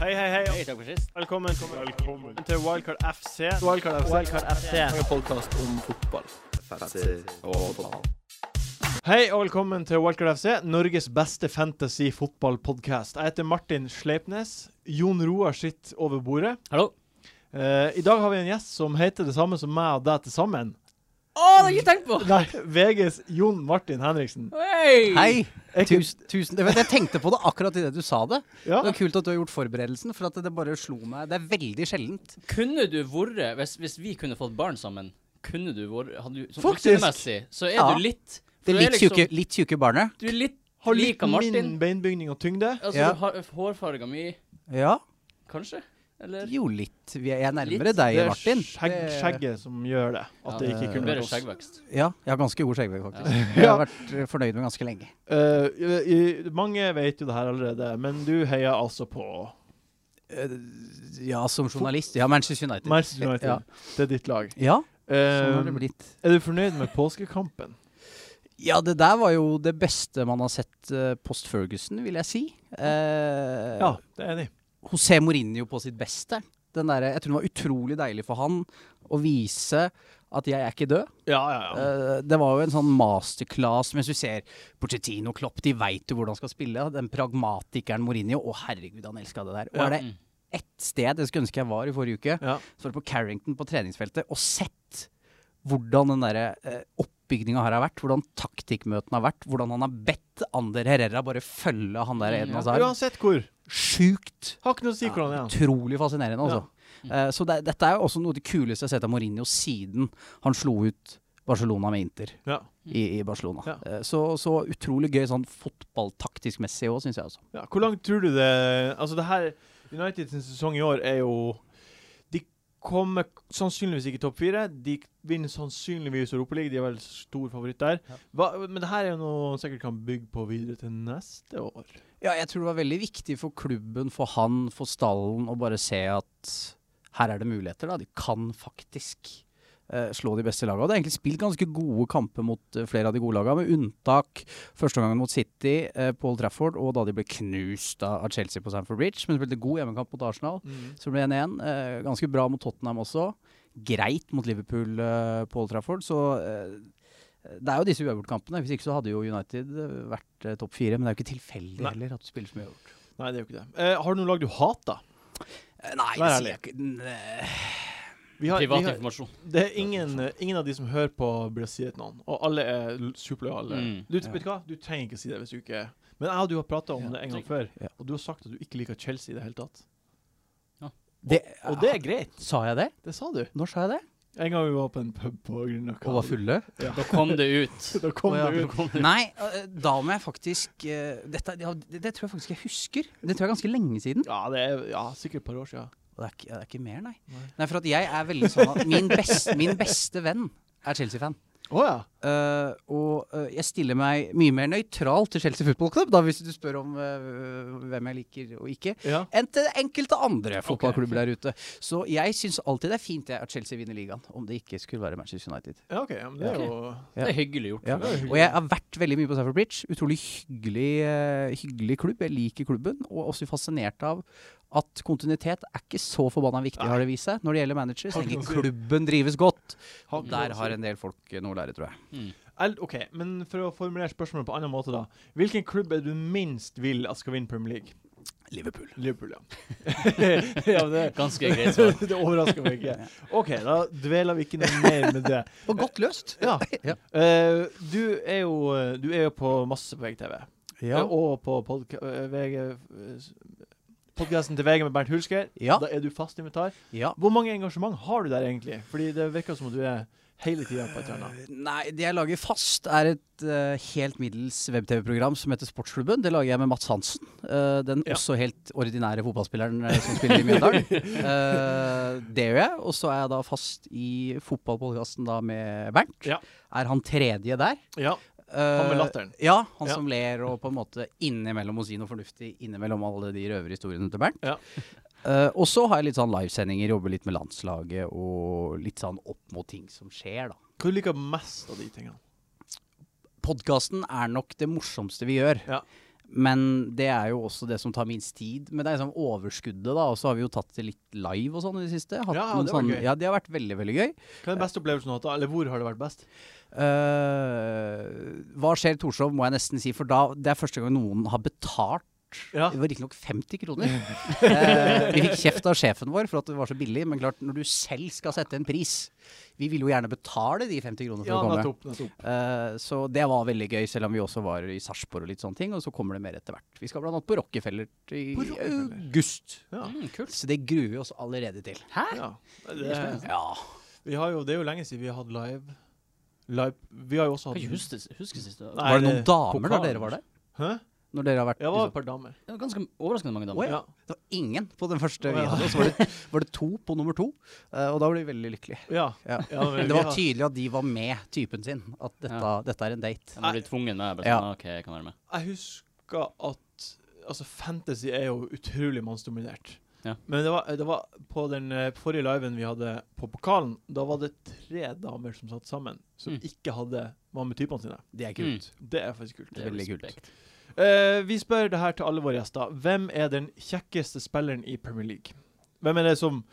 Hei, hei, hei. Hei, takk for sist. Velkommen, til Wildcard FC. Wildcard FC. Wildcard FC. En podkast om fotball. Hei og velkommen til Wildcard FC, Norges beste fantasy-fotballpodkast. Jeg heter Martin Sleipnes. Jon Roar sitter over bordet. Hallo. Eh, I dag har vi en gjest som heter det samme som meg og deg til sammen. Å, det har jeg ikke tenkt på! Nei, VGs Jon Martin Henriksen. Hei! Hei. Er ikke- Tusen, tusen. Jeg vet, Jeg tenkte på det akkurat idet du sa det. Ja. Det var Kult at du har gjort forberedelsen, for at det bare slo meg. Det er veldig sjeldent. Kunne du vært hvis, hvis vi kunne fått barn sammen, kunne du vært hadde du, sånn Faktisk. utseendemessig, Så er Ja. du litt for Det du litt, liksom- tjuke, litt tjuke barnet. Du er litt Har litt lik av Martin. min beinbygning og tyngde. Altså, Ja. du har hårfarga mi, Ja, kanskje? Eller? jo litt. Vi er- Jeg er nærmere Litt. deg, Det er Martin. skjegg, Det- skjegget som gjør det. At det ikke kunne Eh, Bedre vært oss. skjeggvekst. Ja, jeg har ganske god skjeggvekst, faktisk. Jeg Ja. har vært eh, fornøyd med ganske lenge. Eh, i, i, mange vet jo det her allerede, men du heier altså på Ja, som journalist. Ja, Manchester United. Manchester United. Ja. Det er ditt lag. Ja, sånn Eh, har det blitt. er du fornøyd med påskekampen? Ja, det der var jo det beste man har sett eh, post Ferguson, vil jeg si. Eh, Ja, det er jeg enig. i. José Mourinho på sitt beste. Den derre- jeg tror det var utrolig deilig for han å vise at jeg er ikke død. Ja, ja, ja. Eh, det var jo en sånn masterclass mens du ser Pochettino Klopp, de veit jo hvordan han skal spille. Den pragmatikeren Mourinho, å herregud, han elska det der. Og Ja. er det ett sted jeg skulle ønske jeg var i forrige uke, ja. så var det på Carrington på treningsfeltet og sett hvordan den derre eh, oppbygninga her har vært, hvordan taktikkmøtene har vært, hvordan han har bedt Ander Herrera bare følge han der Eden Ja. Hazard. Uansett hvor. Sjukt Har ikke noe å si ja, hvordan det er. Utrolig fascinerende, altså. Eh, så det, dette er jo også noe av det kuleste jeg har sett av Mourinho siden han slo ut Barcelona med Inter Ja. i, i Barcelona. Ja. Eh, så, så utrolig gøy sånn fotballtaktisk messig òg, syns jeg altså. også. Ja, hvor langt tror du det Altså, det her United sin sesong i år er jo De kommer sannsynligvis ikke i topp fire. De vinner sannsynligvis Europaligaen. De er vel stor favoritt der. Hva, men det her er jo noe han sikkert kan bygge på videre til neste år. Ja, jeg tror det var veldig viktig for klubben, for han, for stallen, å bare se at her er det muligheter, da. De kan faktisk eh, slå de beste lagene. Og det er egentlig spilt ganske gode kamper mot eh, flere av de gode lagene, med unntak første gangen mot City, eh, på Old Trafford, og da de ble knust av av Chelsea på Stamford Bridge. Men de spilte god hjemmekamp mot Arsenal, så ble det 1-1. Eh, ganske bra mot Tottenham også. Greit mot Liverpool eh, på Old Trafford, så eh, det er jo disse uavgjort-kampene. Hvis ikke så hadde jo United eh, vært eh, topp fire. Men det er jo ikke tilfeldig Nei. heller at du spiller så mye uavgjort. Nei, det er jo ikke det. Eh, har du noe lag du hater? Eh, Nei, det Vær sier ærlig. jeg ikke. Nei. Vi har, vi Privat har, informasjon. det er ingen, eh, ingen av de som hører på, burde si det til noen. Og alle er l- superlojale. Mm. Du, vet du hva? Du trenger ikke si det hvis du ikke Men jeg og du har prata om Ja. det en gang før, Ja. og du har sagt at du ikke liker Chelsea i det hele tatt. Det, Og det er greit. Sa jeg det? Det sa du. Når sa jeg det? En gang vi var på en pub på Grünerløkka. Og var fulle? Da kom det ut. Da kom Å, ja. det ut. Nei, eh, da må jeg faktisk eh, dette, ja, det, det tror jeg faktisk jeg husker. Det tror jeg er ganske lenge siden. Ja, det er ja, sikkert et par år siden. Og det er ikke, det er ikke mer, nei. nei. Nei. for at jeg er veldig sånn at min, best, min beste venn er Chelsea-fan. Å ja. Eh, og eh, jeg stiller meg mye mer nøytralt til Chelsea Football Club, da hvis du spør om eh, hvem jeg liker og ikke, ja. enn til enkelte andre fotballklubber der ute. Så jeg syns alltid det er fint jeg, at Chelsea vinner ligaen, om det ikke skulle være Manchester United. Ja, OK. Ja, men det er jo Det er hyggelig gjort. Ja. tror jeg. Og jeg har vært veldig mye på Stafford Bridge. Utrolig hyggelig, eh, hyggelig klubb. Jeg liker klubben, og også fascinert av at kontinuitet er ikke så forbanna viktig, har det vist seg, når det gjelder manager. Så Har ikke lenge noe å si. klubben drives godt. Har Og ikke der noe å har si. en del folk eh, noe å lære, tror jeg. Mm. Eld- OK, men for å formulere spørsmålet på en annen måte, da. Hvilken klubb er det du minst vil at skal vinne Premier League? Liverpool. Liverpool, ja. ja men det, Ganske greit svar. det overrasker meg ikke. OK, da dveler vi ikke noe mer med det. Og godt løst. Ja. Ja. Eh, du, er jo, du er jo på masse på VGTV. Eh, Og på podka eh, VG podkasten til VG med Bernt Hulsker. Ja. Da er du fast invitar. ja. Hvor mange engasjement har du der egentlig? Fordi det virker som om du er hele tida på et eller annet. Eh, Nei, det jeg lager fast er et eh, helt middels web-TV-program som heter Sportsklubben. Det lager jeg med Mats Hansen. eh, den Ja. også helt ordinære fotballspilleren eh, som spiller i Mjøndalen. Eh, det gjør jeg. Og så er jeg da fast i fotballpodkasten da med Bernt. Ja. Er han tredje der? Eh, Ja. han med latteren. Ja, han Ja. som ler og på en måte innimellom må si noe fornuftig innimellom alle de røverhistoriene til Bernt. Ja. Eh, og så har jeg litt sånn livesendinger, jobber litt med landslaget og litt sånn opp mot ting som skjer, da. Hva du liker mest av de tingene? Podkasten er nok det morsomste vi gjør. Ja. Men det er jo også det som tar minst tid. Men det er liksom overskuddet, da. Og så har vi jo tatt det litt live og sånn i det siste. Hatt Ja, noen det var sånne- gøy. Ja, det har vært veldig, veldig gøy. Hva er den beste opplevelsen du har hatt? da? Eller hvor har det vært best? Eh, hva skjer Torshov, må jeg nesten si, for da det er første gang noen har betalt. Ja. Det var riktignok 50 kroner. Eh, vi fikk kjeft av sjefen vår for at det var så billig, men klart, når du selv skal sette en pris Vi ville jo gjerne betale de 50 kronene for Ja, å komme. nettopp. nettopp. Eh, så det var veldig gøy, selv om vi også var i Sarpsborg og litt sånne ting. Og så kommer det mer etter hvert. Vi skal blant annet på Rockefeller i På Rockefeller? august. Ja. Mm, kult. Så det gruer vi oss allerede til. Hæ? Ja. Det, Ja. vi har jo, det er jo lenge siden vi har hatt live. live. Vi har jo også Kan hatt ikke huske, huske sist. Det Nei, Var det noen det- damer da pokalen, dere var der? Hæ? Når dere har vært Ja, det var et par damer. var ganske overraskende mange damer. Å, ja. Ja. Det var ingen på den Å, første vi ja. hadde, og så var det, var det to på nummer to. eh, og da ble vi veldig lykkelige. Ja. Ja. Ja, men Men vi det var har- tydelig at de var med typen sin. At dette, Ja. dette er en date. Jeg må bli tvungen med. Bare, Ja. sånn, ok, jeg kan være med. Jeg husker at Altså, fantasy er jo utrolig mannsdominert. Ja. Men det var, det var på den eh, forrige liven vi hadde på pokalen, da var det tre damer som satt sammen, som Mm. ikke hadde var med typene sine. Det er kult. Det er faktisk kult. Det er Veldig kult. respekt. Eh, vi spør det her til alle våre gjester. Hvem er den kjekkeste spilleren i Premier League? Hvem er det som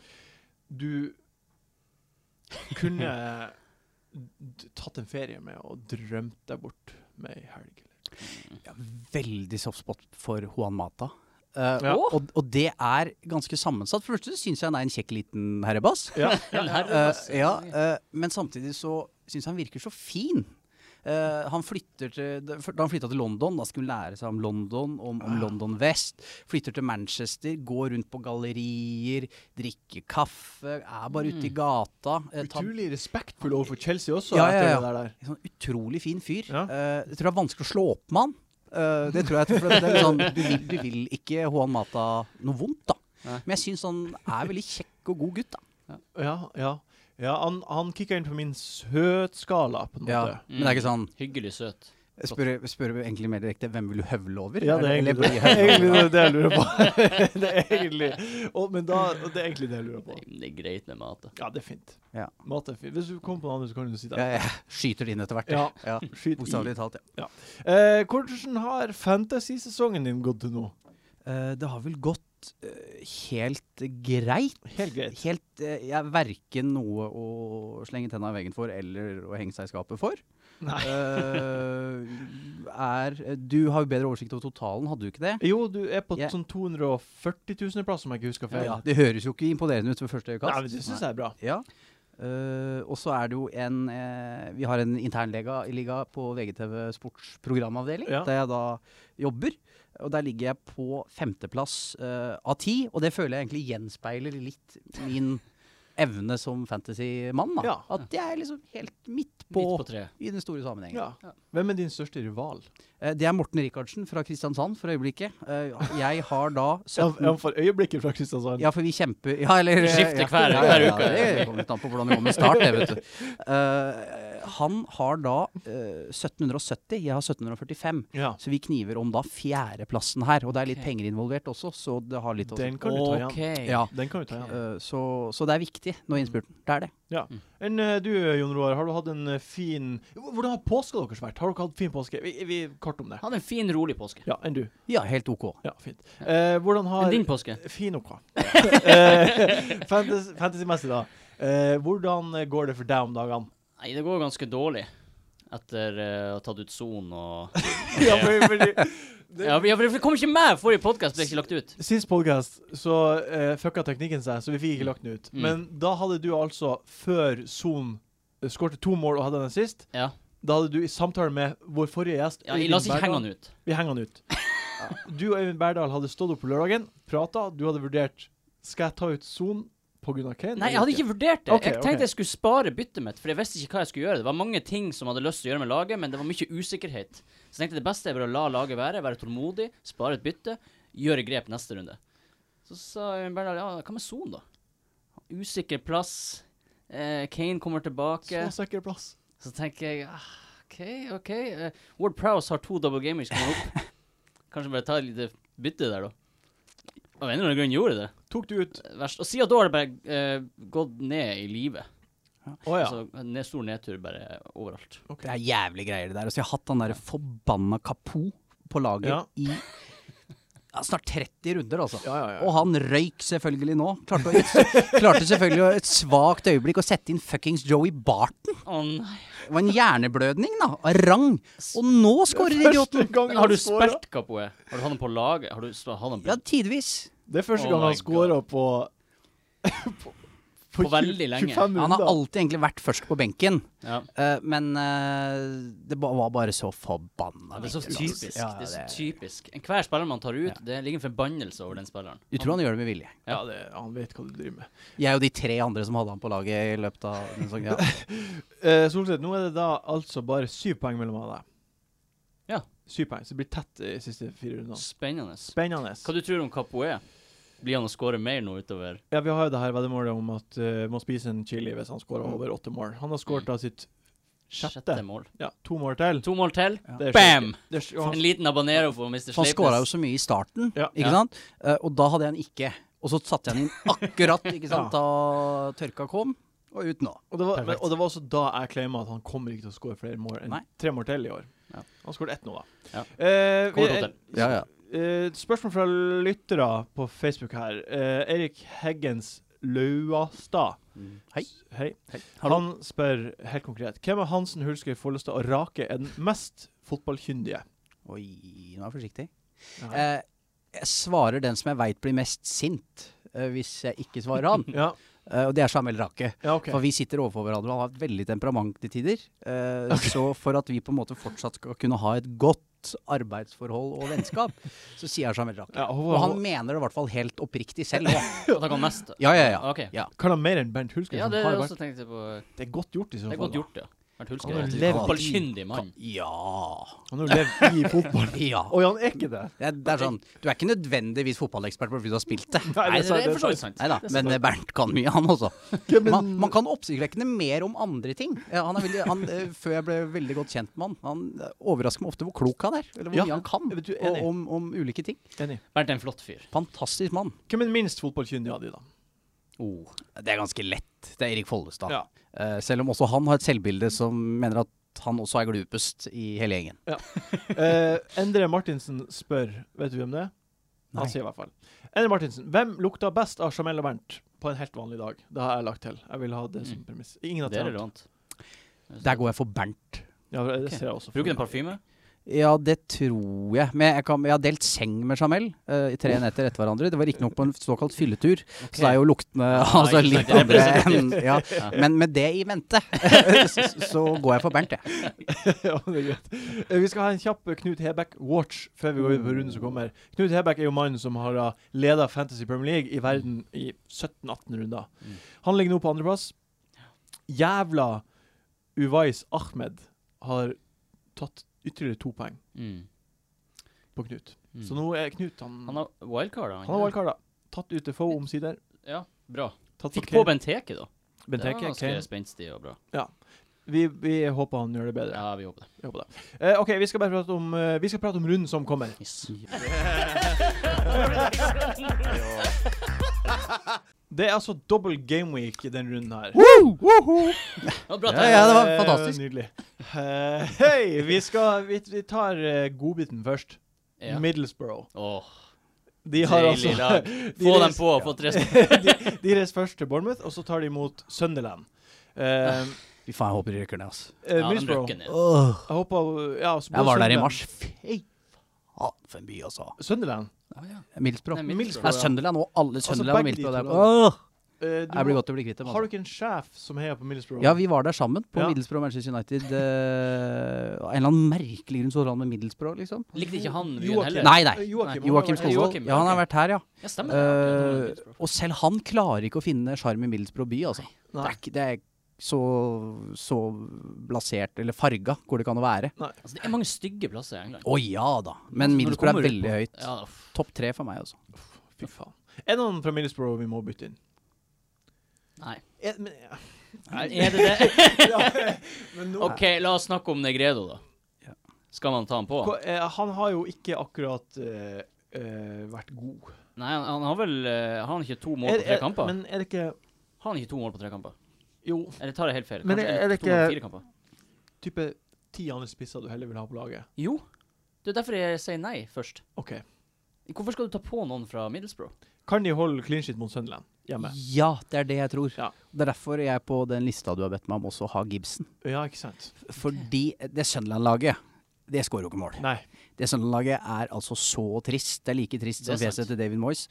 du kunne d- tatt en ferie med og drømt deg bort med i helg? Ja, veldig soft spot for Juan Mata. Eh, Ja. og, og det er ganske sammensatt. For det første syns jeg han er en kjekk liten herrebass. Ja. Eh, ja, eh, men samtidig så syns jeg han virker så fin. Eh, han flytter til, da han flytta til London, da skulle han lære seg om London, om, om London Vest. Flytter til Manchester, går rundt på gallerier, drikker kaffe, er bare ute i gata. eh, tar- Utrolig respektfull overfor Chelsea også, Ja, ja, etter ja. det der. en sånn utrolig fin fyr. Ja. Eh, jeg tror det er vanskelig å slå opp med han. Eh, det tror jeg, for det er litt sånn, du, vil, du vil ikke Juan Mata noe vondt, da. Nei. Men jeg syns han er veldig kjekk og god gutt, da. Ja, ja. ja han, han kicka inn på min søtskala, på en Ja, måte. Men det er ikke sånn Hyggelig søt. Jeg spør, jeg spør egentlig mer direkte hvem vil du høvle over? Ja, det er Eller- egentlig eller det, bli høvlet over? det jeg lurer på. det er egentlig og, Men da og Det er egentlig det jeg lurer Det på. er, det er greit med mat. da. Ja, det er fint. Ja. Mat er fint. Hvis du kommer på noe annet, så kan du si det. Ja, jeg skyter det inn etter hvert. Ja. Ja. Skyt i. Bokstavelig talt, ja. Eh, hvordan har fantasy-sesongen din gått til nå? Eh, det har vel gått eh, helt greit. Helt greit. Helt, eh, jeg er verken noe å slenge tenna i veggen for eller å henge seg i skapet for. Nei. Eh, er, du har jo bedre oversikt over totalen, hadde du ikke det? Jo, du er på Jeg- sånn 240 000.-plass, om jeg ikke husker feil. Ja, Det høres jo ikke imponerende ut ved første Nei, øyekast. men det syns jeg er bra. Ja. Eh, og så er det jo en eh, Vi har en internliga liga på VGTV Sports programavdeling, Ja. der jeg da jobber. Og der ligger jeg på femteplass eh, av ti, og det føler jeg egentlig gjenspeiler litt min evne som fantasymann. da. Ja. At jeg er liksom helt midt på, Midt på treet. i den store sammenhengen. Ja. Hvem er din største rival? Eh, det er Morten Rikardsen fra Kristiansand for øyeblikket. Eh, jeg har da 17 Ja, for øyeblikket fra Kristiansand. Ja, for vi kjemper Ja, eller Vi skifter ja, hver- ja, hver ja, uke. Ja, det kommer litt an på hvordan det går med start, det, vet du. Eh, han har da eh, 1770, jeg har 1745. Ja. Så vi kniver om da fjerdeplassen her. Og det er litt Ok. penger involvert også, så det har litt å si. Den kan du ta igjen. Ja. Den kan du ta igjen. Eh, så, så det er viktig nå i innspurten. Det er det. Men eh, du, Jon Roar, har du hatt en eh, fin Hvordan har påska deres vært? Har dere hatt fin påske? Vi, vi kort om det. Hadde en fin, rolig påske. Ja, enn du. Ja, helt OK. Ja, fint. Eh, hvordan har Men din påske? Fin og hva? Eh, fantas- Fantasy-messig, da. Eh, hvordan eh, går det for deg om dagene? Nei, det går ganske dårlig. Etter eh, å ha tatt ut Son og ja, for, fordi, Ja, for- ja, for det kom ikke med forrige podkast, ble ikke lagt ut. Sist podcast så eh, fucka teknikken seg, så vi fikk ikke lagt den ut. Mm. Men da hadde du altså, før Son eh, skårte to mål og hadde den sist, Ja, da hadde du i samtale med vår forrige gjest ja La oss ikke henge han ut. Vi henger han ut. Du og Øyvind Berdal hadde stått opp på lørdagen, prata, du hadde vurdert Skal jeg ta ut Son pga. Kane? Nei, jeg hadde ikke vurdert det. Ok, jeg ok. tenkte jeg skulle spare byttet mitt, for jeg visste ikke hva jeg skulle gjøre. Det var mange ting som hadde lyst til å gjøre med laget, men det var mye usikkerhet. Så jeg tenkte det beste er bare å la laget være, være tålmodig, spare et bytte, gjøre grep neste runde. Så sa Øyvind Berdal ja, hva med Son, da? Usikker plass. Eh, Kane kommer tilbake. Så sikker plass. Så tenker jeg ah, OK, OK. eh, Ward Prowse har to double gamers som kommer opp. Kanskje bare ta et lite bytte der, da. Av en eller annen grunn gjorde jeg det. Tok du ut Verst. Og siden da har det bare eh, gått ned i livet. Å ja. Altså, ned, stor nedtur bare overalt. Det er jævlig greier, det der. Altså, jeg har hatt han derre forbanna Kapo på laget Ja. i ja, snart 30 runder, altså. Ja, ja, ja. Og han røyk selvfølgelig nå. Klarte, å, klarte selvfølgelig å- et svakt øyeblikk å sette inn fuckings Joey Barton. Å nei. Det var en hjerneblødning, da. Av rang. Og nå skårer idioten! gang Har du scorer. spilt Kapoe? Har du hatt den på laget? Har du sp- hatt den på, Ja, tidvis. Det er første Oh gang my han scorer på På veldig lenge. 25 Han har runder. alltid egentlig vært først på benken. ja. Eh, men eh, det ba var bare så forbanna Ja, Det er så bittert, altså. typisk. Ja, det er så det- typisk. Enhver spiller man tar ut, det ligger en forbannelse over den spilleren. Du tror han gjør det med vilje? Ja, det, han vet hva du driver med. Jeg og de tre andre som hadde han på laget i løpet av den sesongen. Ja. Eh, Solseth, nå er det da altså bare syv poeng mellom av deg. Ja. Syv poeng, så det blir tett i siste fire rundene. Spennende. Spennende. Hva du tror om Kapoe? Blir han å skåre mer nå utover? Ja, vi har jo det her veddemålet om at eh, må spise en chili hvis han scorer Mm. over åtte mål. Han har skåret da sitt sjette. mål. Ja, to mål til. To mål til. Det er Bam! sjukt. Det er sj- En liten abanero for Mr. For han skåra jo Sleipnes. så mye i starten, Ja. ikke Ja. sant? Eh, og da hadde jeg han ikke. Og så satte jeg han inn akkurat ikke sant, da tørka kom, og ut nå. Og det, var, men, Perfekt. og det var også da jeg claima at han kommer ikke til å skåre flere mål enn Nei. tre mål til i år. Ja. Han skåret ett nå, da. Ja. Eh, vi- Kommer to til. Ja, ja. eh, spørsmål fra lyttere på Facebook her. Eh, Erik Heggens Lauastad. Mm. Hei. Hei. Hallo. Han spør helt konkret Hvem av Hansen, Hulsker, Follestad og Rake er den mest fotballkyndige? Oi, nå er jeg forsiktig. Ja. Eh, jeg svarer den som jeg veit blir mest sint, eh, hvis jeg ikke svarer han. ja. Eh, og det er Samuel Rake. ja, OK. For vi sitter overfor hverandre og har et veldig temperament til tider. Eh, Så for at vi på en måte fortsatt skal kunne ha et godt arbeidsforhold og vennskap, så sier jeg Samuel Rake. Ja, og- Og han mener det i hvert fall helt oppriktig selv. også. At han kan mest. Ja, ja, ja. Ok. ja. Kaller han mer enn Bernt Hulsker? Ja, som det har er vært- også tenkte jeg på. det er godt gjort i så Det fall. er godt da. gjort, ja. Vært hulsker. Han har alltid. levd i- Fotballkyndig mann. Ja. Han har jo levd i fotball. ja. Oi, han er ikke det? Det er, det er sånn, Du er ikke nødvendigvis fotballekspert bare fordi du har spilt det. Nei, Nei, det sant, er for så sant. vidt sant. Nei da, men eh, Bernt kan mye, han også. Ok, men- Man, man kan oppsiktsvekkende mer om andre ting. Eh, Han er veldig, han, eh, før jeg ble veldig godt kjent med han, han eh, overrasker meg ofte hvor klok han er. Eller hvor Ja, mye han kan jeg vet du, og enig. om, om ulike ting. Enig. Bernt er en flott fyr. Fantastisk mann. Hvem er den minst fotballkyndige av de, da? Oh, det er ganske lett. Det er Erik Follestad. Ja. Eh, selv om også han har et selvbilde som mener at han også er glupest i hele gjengen. Eh, Endre Martinsen spør Vet du hvem det er? Han Nei. sier i hvert fall. Endre Martinsen, hvem lukta best av Jamel og Bernt på en helt vanlig dag? Det har jeg lagt til. Jeg vil ha det som Mm. premiss. Ingen Det er alternativ. relevant. Der går jeg for Bernt. Ja, det Ok. ser jeg også. for Bruker meg. du en parfyme? Ja, det tror jeg. Men jeg, kan, jeg har delt seng med Jamel eh, i tre netter etter hverandre. Det var riktignok på en såkalt fylletur, så det er jo luktene ikke altså, sant, litt det er andre enn representativt. ja. Ja. Men med det i mente, så, så går jeg for Bernt, jeg. ja, det er greit. Eh, Vi skal ha en kjapp Knut Hebekk-watch før vi går inn på runden som kommer. Knut Hebekk er jo mannen som har leda Fantasy Premier League i verden i 17-18 runder. Mm. Han ligger nå på andreplass. Jævla Uwais Ahmed har tatt ytterligere to poeng Mm. på Knut. Mm. Så nå er Knut Han, Han har wildcard, da. han har wildcard, da. Tatt ut Defoe omsider. Ja, bra. Tatt Fikk Kane. på Benteke, da. Bent det var Heke, ganske Kane. spenstig og bra. Vi, vi håper han gjør det bedre. Ja, vi håper det. Vi håper det. Eh, OK, vi skal bare prate om, eh, vi skal prate om runden som kommer. Yes. Det er altså dobbel gameweek i den runden her. Ja, bra Ja, tegn. ja, det var Eh, fantastisk. Nydelig. Eh, Hei, vi skal Vi, vi tar eh, godbiten først. Ja. Middlesbrough. Åh, De har deilig altså lag. de Få dem reis- på og få tre sp- de, de reiser først til Bournemouth, og så tar de imot Sunderland. Eh, Fy faen, jeg håper de rykker ned, altså. eh, Ja, de Middlesbrough. røkker ned. Jeg håper ja, så Jeg var der i Sunderland- mars. Fy faen, for en by, altså. Sunderland? Middlesbrough. Nei, Det Middlesbrough, er ja. Sunderland og alle Sunderland og begge de to Middlesbrough der. lagene. Åh, Eh, du Jeg blir må, godt til å bli kvitt dem. har du Altså. ikke en sjef som heier på Middlesbrough? Ja, vi var der sammen, på Ja. Middlesbrough og Manchester United. eh, Av en eller annen merkelig grunn så holdt han med Middlesbrough, liksom. Likte ikke han byen Joakim. heller? Nei, nei. Joakim, Nei, han har Joakim vært- Skogvold. Joakim, Ja, han har ok. vært her, ja. Ja, stemmer Eh, det. og selv han klarer ikke å finne sjarm i Middlesbrough by, altså. Det Nei. er, ikke- det er så, så blasert, eller farga, hvor det kan å være. altså, det er mange stygge plasser i England. Å ja da. Altså, Men Når du kommer Middlesbrough er ut veldig på- høyt. Ja, uff. Topp tre for meg, altså. Fy faen. Er det noen fra Middlesbrough vi må bytte inn? Nei. Er, men, ja. Men er det det? men nå OK, la oss snakke om Negredo, da. Ja. Skal man ta han på? Hva- eh, Han har jo ikke akkurat eh, eh, vært god. Nei, han, han har vel eh, Har han ikke to mål Er- på tre er- kamper? Men er det ikke Har han ikke to mål på tre kamper? Jo, Eller tar jeg helt feil? Men Kanskje er det to mål på ikke- fire kamper? type ti andre spisser du heller vil ha på laget. Jo. Det er derfor jeg sier nei først. OK. Hvorfor skal du ta på noen fra Middlesbrough? Kan de holde clean shit mot Sunderland hjemme? Ja, det er det jeg tror. Ja. Det er derfor jeg på den lista du har bedt meg om, også har Gibson. Ja, ikke sant? Fordi det Sunderland-laget, det skårer jo ikke mål. Nei. Det Sunderland-laget er altså så trist. Det er like trist Det er som fjeset sant. til David Moyes.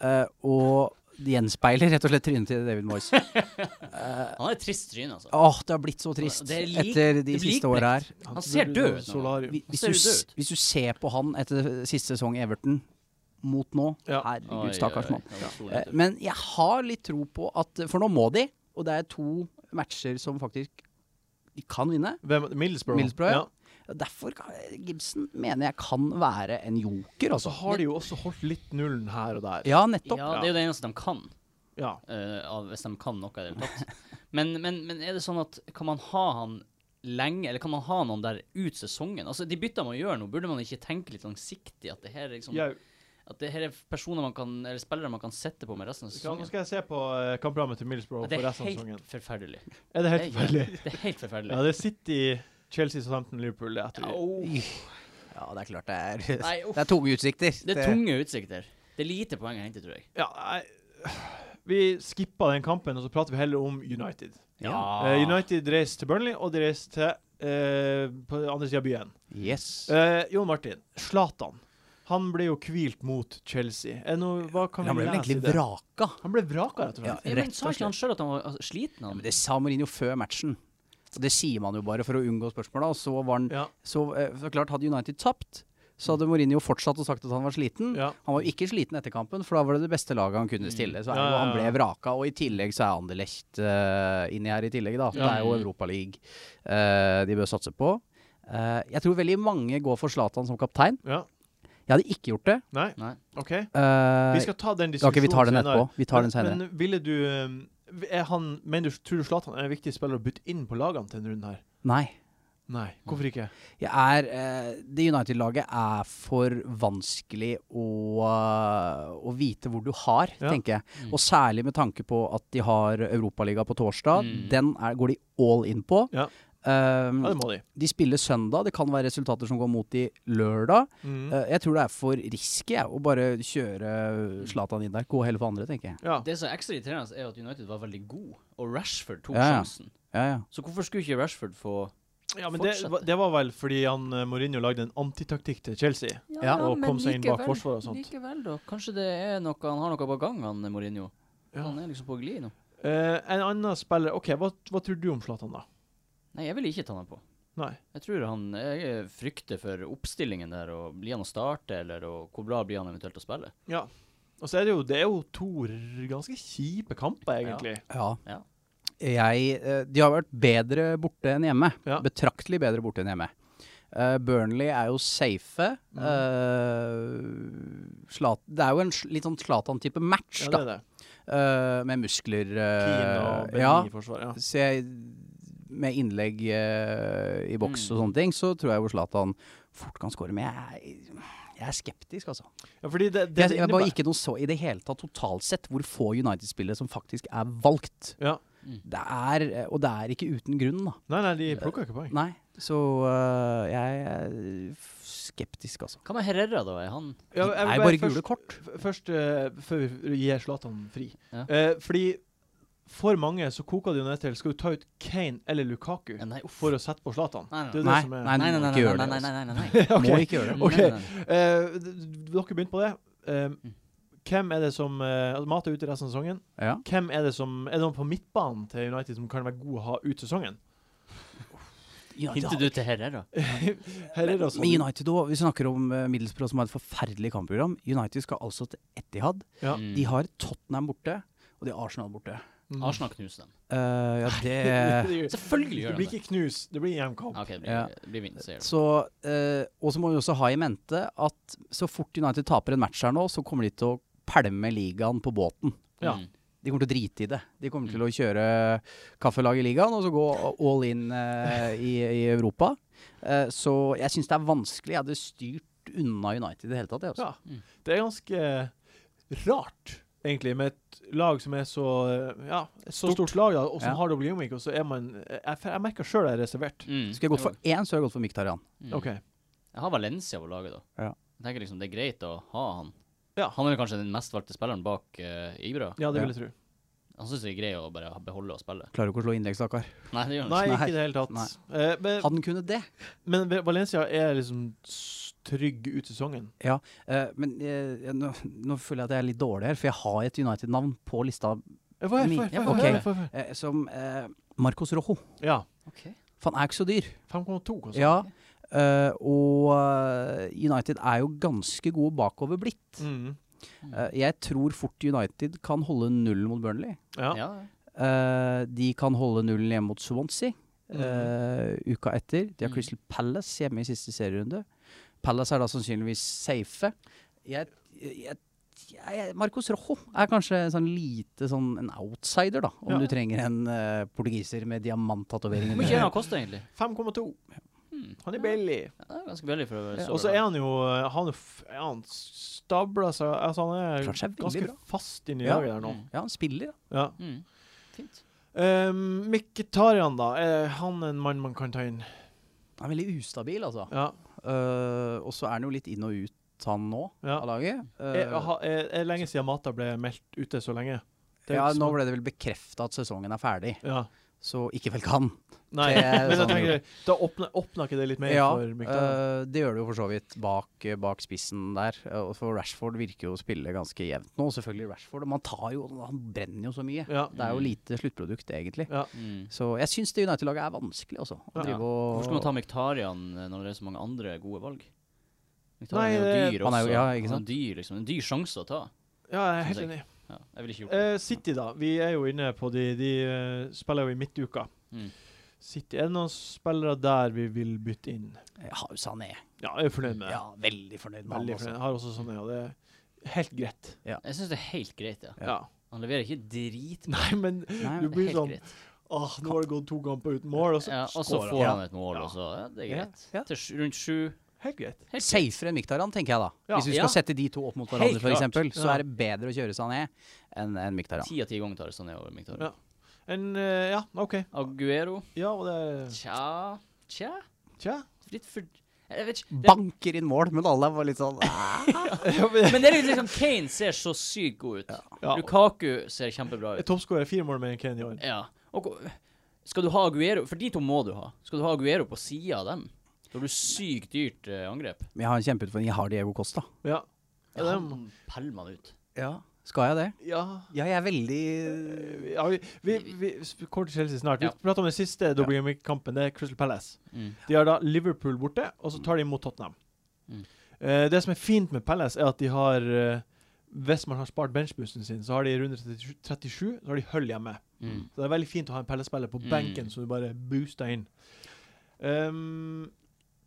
Eh, og det gjenspeiler rett og slett trynet til David Moyes. Han har et trist tryne, altså. Åh, det har blitt så trist Det er lik- etter de det blir siste åra her. Han ser død ut nå. Solarium. Hvis ser du, jo død s- ut. hvis du ser på han etter siste sesong i Everton mot nå Ja. Oi, Herregud, oi, stakkars mann. han var stor Eh, leder. Men jeg har litt tro på at For nå må de, og det er to matcher som faktisk de kan vinne. Hvem, Middlesbrough. Middlesbrough, ja. ja. Derfor kan- Gibson mener jeg kan være en Så joker, altså. har de jo også holdt litt nullen her og der. Ja, nettopp. Ja, det er jo det eneste de kan. Ja. eh, av, hvis de kan noe i det hele tatt. Men, men, men er det sånn at kan man ha han lenge, eller kan man ha noen der ut sesongen? Altså, De byttene man gjør nå, burde man ikke tenke litt langsiktig? At det her er, liksom, Jeg, at det her er personer man kan, eller spillere man kan sette på med resten av nå sesongen? skal jeg se på eh, kampprogrammet til Middlesbrough for det er resten av sesongen. helt forferdelig. Er det helt Det er- forferdelig? Det er helt Ja, forferdelig. det er City, Chelsea, Southampton, Liverpool det er etter. Au. Ja, det er klart det er Nei, uff. Det er tunge utsikter. Det er tunge utsikter. Det er lite poeng å hente, tror jeg. Ja, nei, vi skippa den kampen, og så prater vi heller om United. Ah. Eh, United reiser til Burnley, og de reiser til eh, på den andre sida av byen. Yes. Eh, Jon Martin, Zlatan. Han ble jo hvilt mot Chelsea. Er noe, hva kan han vi ble vel lese i egentlig det? vraka. Han ble vraka, rett og slett. Ja, Ja, rett men sa og ikke han slett. sjøl at han var altså, sliten? Ja, Han? men det sa Mourinho før matchen. Og det sier man jo bare for å unngå spørsmål. da. Og så var han Ja. så, eh, så klart, hadde United tapt, så hadde Mourinho fortsatt og sagt at han var sliten. Ja. Han var jo ikke sliten etter kampen, for da var det det beste laget han kunne stille. Så er det jo, Ja, ja, ja. han ble vraka, og i tillegg så er Anderlecht uh, inni her i tillegg, da. Det Ja. er jo Europaligaen uh, de bør satse på. Eh, jeg tror veldig mange går for Zlatan som kaptein. ja. Jeg hadde ikke gjort det. Nei, Nei. OK. Eh, Vi skal ta den Ok, vi diskusjonen tar den etterpå. Vi tar den Men, senere. men ville du eh, er han, mener du, Tror du Zlatan er en viktig spiller å bytte inn på lagene til denne runden her? Nei. Nei, hvorfor ikke? Jeg er, eh, det United-laget er for vanskelig å, eh, å vite hvor du har, Ja. Mm. tenker jeg. Og særlig med tanke på at de har Europaliga på torsdag. Mm. Den er, går de all in på. Ja. Um, Ja, det må de. de spiller søndag. Det kan være resultater som går mot de lørdag. Mhm. Eh, jeg tror det er for risky jeg, å bare kjøre Zlatan inn der. Gå heller for andre, tenker jeg. Ja. Det som er ekstra irriterende, er at United var veldig god, og Rashford tok Ja, ja. sjansen. Ja, ja. Så hvorfor skulle ikke Rashford få ja, men det, fortsette. var- det var vel fordi han eh, Mourinho lagde en antitaktikk til Chelsea. Ja, og kom seg inn bak forsvaret og sånt. Likevel, da. Kanskje det er noe, han har noe på gang, han Mourinho. Ja. Han er liksom på glid nå. Eh, en annen spiller OK, hva, hva tror du om Zlatan, da? Nei, jeg vil ikke ta ham på. Nei. Jeg tror han Jeg frykter for oppstillingen der, og blir han å starte, eller og hvor bra blir han eventuelt å spille? Ja. Og så er det jo Det er jo to r- ganske kjipe kamper, egentlig. Ja. Ja. Jeg, eh, de har vært bedre borte enn hjemme. Ja. Betraktelig bedre borte enn hjemme. Eh, Burnley er jo safe. Mm. Eh, Zlat- det er jo en sl- litt sånn Zlatan-type match, Ja, det da. er det. Eh, med muskler Keane eh, og Benny ja, i forsvar. Ja. så jeg, Med innlegg eh, i Mm. boks og sånne ting, så tror jeg jo Zlatan fort kan score. Men jeg, jeg er skeptisk, altså. ja, fordi det, det, Jeg, det jeg bare innebærer- ikke noe så i det hele tatt totalt sett hvor få United-spillere som faktisk er valgt. Ja. Det er, og det er ikke uten grunn, da. Nei, nei, de plukka ikke poeng. Nei. Så øh, jeg er skeptisk, altså. Hva med Herrera, da? Er han Ja, Det jeg vil er bare bare først- gule kort. f- Først, eh, før vi gir Zlatan fri. Ja. Eh, fordi for mange så koker det jo ned til skal du ta ut Kane eller Lukaku Ja, Nei, uff. for å sette på Zlatan. Nei, nei, Det er jo Nei, det som er Nei, nei, nei, nei. må nei, ikke gjøre nei, det. nei, altså. nei, nei, nei. Ok. Må ikke gjøre det. Ok. Nei, Mm. nei, nei. Eh, d- d- dere begynte på det. Eh, hvem er det som eh, altså Mat er ute resten av sesongen. Ja. Hvem Er det som Er det noen på midtbanen til United som kan være god å ha ut sesongen? Hinter du til Herrera? Her er det altså Men United også, vi snakker om uh, Middlesbrough som har et forferdelig kampprogram. United skal altså til Etihad. Ja. Mm. De har Tottenham borte, og de har Arsenal borte. Mm. Arsenal knuser dem. Eh, ja, det Det Selvfølgelig gjør de blir det. ikke knus. Det blir Ah, hjemkamp. OK, det blir, Ja. det blir vinst, sier du. Så, eh, og så må vi også ha i mente at så fort United taper en match her nå, så kommer de til å pælme ligaen på båten. Ja. Mm. De kommer til å drite i det. De kommer til å kjøre kaffelag i ligaen og så gå all in eh, i, i Europa. Eh, så jeg syns det er vanskelig. Jeg hadde styrt unna United i det hele tatt. Jeg, altså. Ja. Det er ganske eh, rart, egentlig, med et lag som er så eh, Ja, et så stort, lag, da, og som Ja. har double gimmick, og så er man eh, Jeg, jeg merker sjøl jeg er reservert. Mm. Skulle jeg gått for én, så hadde jeg gått for Mkhitaryan. Mm. OK. Jeg har Valencia på laget, da. Ja. Jeg tenker liksom, Det er greit å ha han. Ja. Han er vel kanskje den mest valgte spilleren bak eh, Ibra. Ja, det vil jeg tro. Han syns det er greit å bare beholde og spille. Klarer ikke å slå innlegg, stakkar. Nei, det gjør han Nei, ikke. ikke i det hele tatt. Eh, men, Han kunne det. men Valencia er liksom s- trygg ut sesongen. Eh, men eh, jeg- nå, nå føler jeg at jeg er litt dårlig her, for jeg har et United-navn på lista Eh, Hva er Min- hva er- ja, hva er- ok. hva er- hva er- eh, som eh, Marcos Rojo. Ja. Eh, Ok. For han er ikke så dyr. 5,2, kanskje. Ja, eh, og eh, United er jo ganske gode bakover blitt. Mhm. Hmm. Eh, jeg tror fort United kan holde nullen mot Burnley. ja. Ja. Eh, de kan holde nullen hjemme mot Swansea eh, uka etter. De har Mm. Crystal Palace hjemme i siste serierunde. Palace er da sannsynligvis safe. Jeg, jeg, jeg, Marcos Rojo er kanskje en sånn lite sånn en outsider, da. Om Ja. du trenger en eh, portugiser med diamanttatovering. Hvor mye er det han koster, egentlig? 5,2. Hmm. Han er billig. Ja, det er ganske billig for å være Ja, så og så er han jo eh, Han, er f- er han stabla seg altså Han Klart er seg veldig ganske bra. fast inn i Ja. laget der nå. Mm. Ja, han spiller, da. Ja. Mm. Fint. Um, Mkhitaryan, da. Er han en mann man kan ta inn? Han er veldig ustabil, altså. Ja. Eh, og så er han jo litt inn og ut, han nå, ja. av laget. Eh, Er, ha- er, er lenge siden Mata ble meldt ute så lenge? Det er ja, ikke så- nå ble det vel bekrefta at sesongen er ferdig, ja. så ikke vel kan. Nei, Det men er jeg sånn tenker Da åpner, åpner ikke det litt mer ja, for Mkhitaryan? eh, det gjør det jo for så vidt bak, eh, bak spissen der. eh, og for Rashford virker jo å spille ganske jevnt nå, selvfølgelig Rashford. Men han tar jo Han brenner jo så mye. ja. Det er jo lite sluttprodukt, egentlig. Mm. Så jeg syns det United-laget er vanskelig, altså. Å Ja. drive Hvorfor skal man ta og Miktarian når det er så mange andre gode valg? Nei, Miktarian er jo det- dyr han også. er jo- ja, ikke Han er dyr, liksom. En dyr sjanse å ta. ja, jeg er helt Synes enig. Ja, jeg ville ikke gjort det. Eh, City, da. Vi er jo inne på de De eh, spiller jo i midtuka. Mm. City, er det noen spillere der vi vil bytte inn? Jeg har jo Sané. Ja, jeg er fornøyd med det. Ja, veldig fornøyd med Veldig fornøyd. han. altså. Også. Jeg har også sånne, og det er helt greit. Jeg syns det er helt greit, ja. Ja. Ja. Han leverer ikke drit. Nei, men Nei, du men det blir er sånn helt greit. Åh, nå har det gått to kamper uten mål, og så Ja, og så scorer får han. han et mål, Ja. og så ja, Det er Ja, greit. ja. Til sju- rundt sju. Helt greit. Helt greit. Safer enn Mkhitaryan, tenker jeg da. Ja. Hvis du Ja. skal sette de to opp mot Helt hverandre, for eksempel klart. så Ja. er det bedre å kjøre Sané enn enn Mkhitaryan. Ti av ti ganger tar det sånn over Miktarian. Ja. En, eh, ja, OK. Aguero Ja, og det Tja, tja. Tja. Litt for Jeg vet ikke. Det- Banker inn mål, men alle var litt sånn Men det er litt liksom Kane ser så sykt god ut. Ja. Lukaku ser kjempebra ut. Toppskårer fire mål mer enn Kane i år. Ja. Og ko- skal du ha Aguero For de to må du ha. Skal du ha Aguero på sida av dem, da har du sykt dyrt eh, angrep. Jeg har en kjempeutfordring. Jeg har Diego Costa. Ja. Ja, Ja, han peller man ut. Ja. Skal jeg det? ja. Ja, jeg er veldig Eh, Ja, vi, vi, vi sp- kommer til Chelsea snart. Vi Ja. prater om den siste Ja. Dobbeltgaming-kampen. Det er Crystal Palace. Mm. De har da Liverpool borte, og så tar de imot Tottenham. Mm. Eh, det som er fint med Palace, er at de har eh, Hvis man har spart benchbussen sin, så har de i runde 37, 37 så har de hull hjemme. Mm. Så det er veldig fint å ha en Pelle-spiller på Mm. benken som du bare booster inn. Ehm,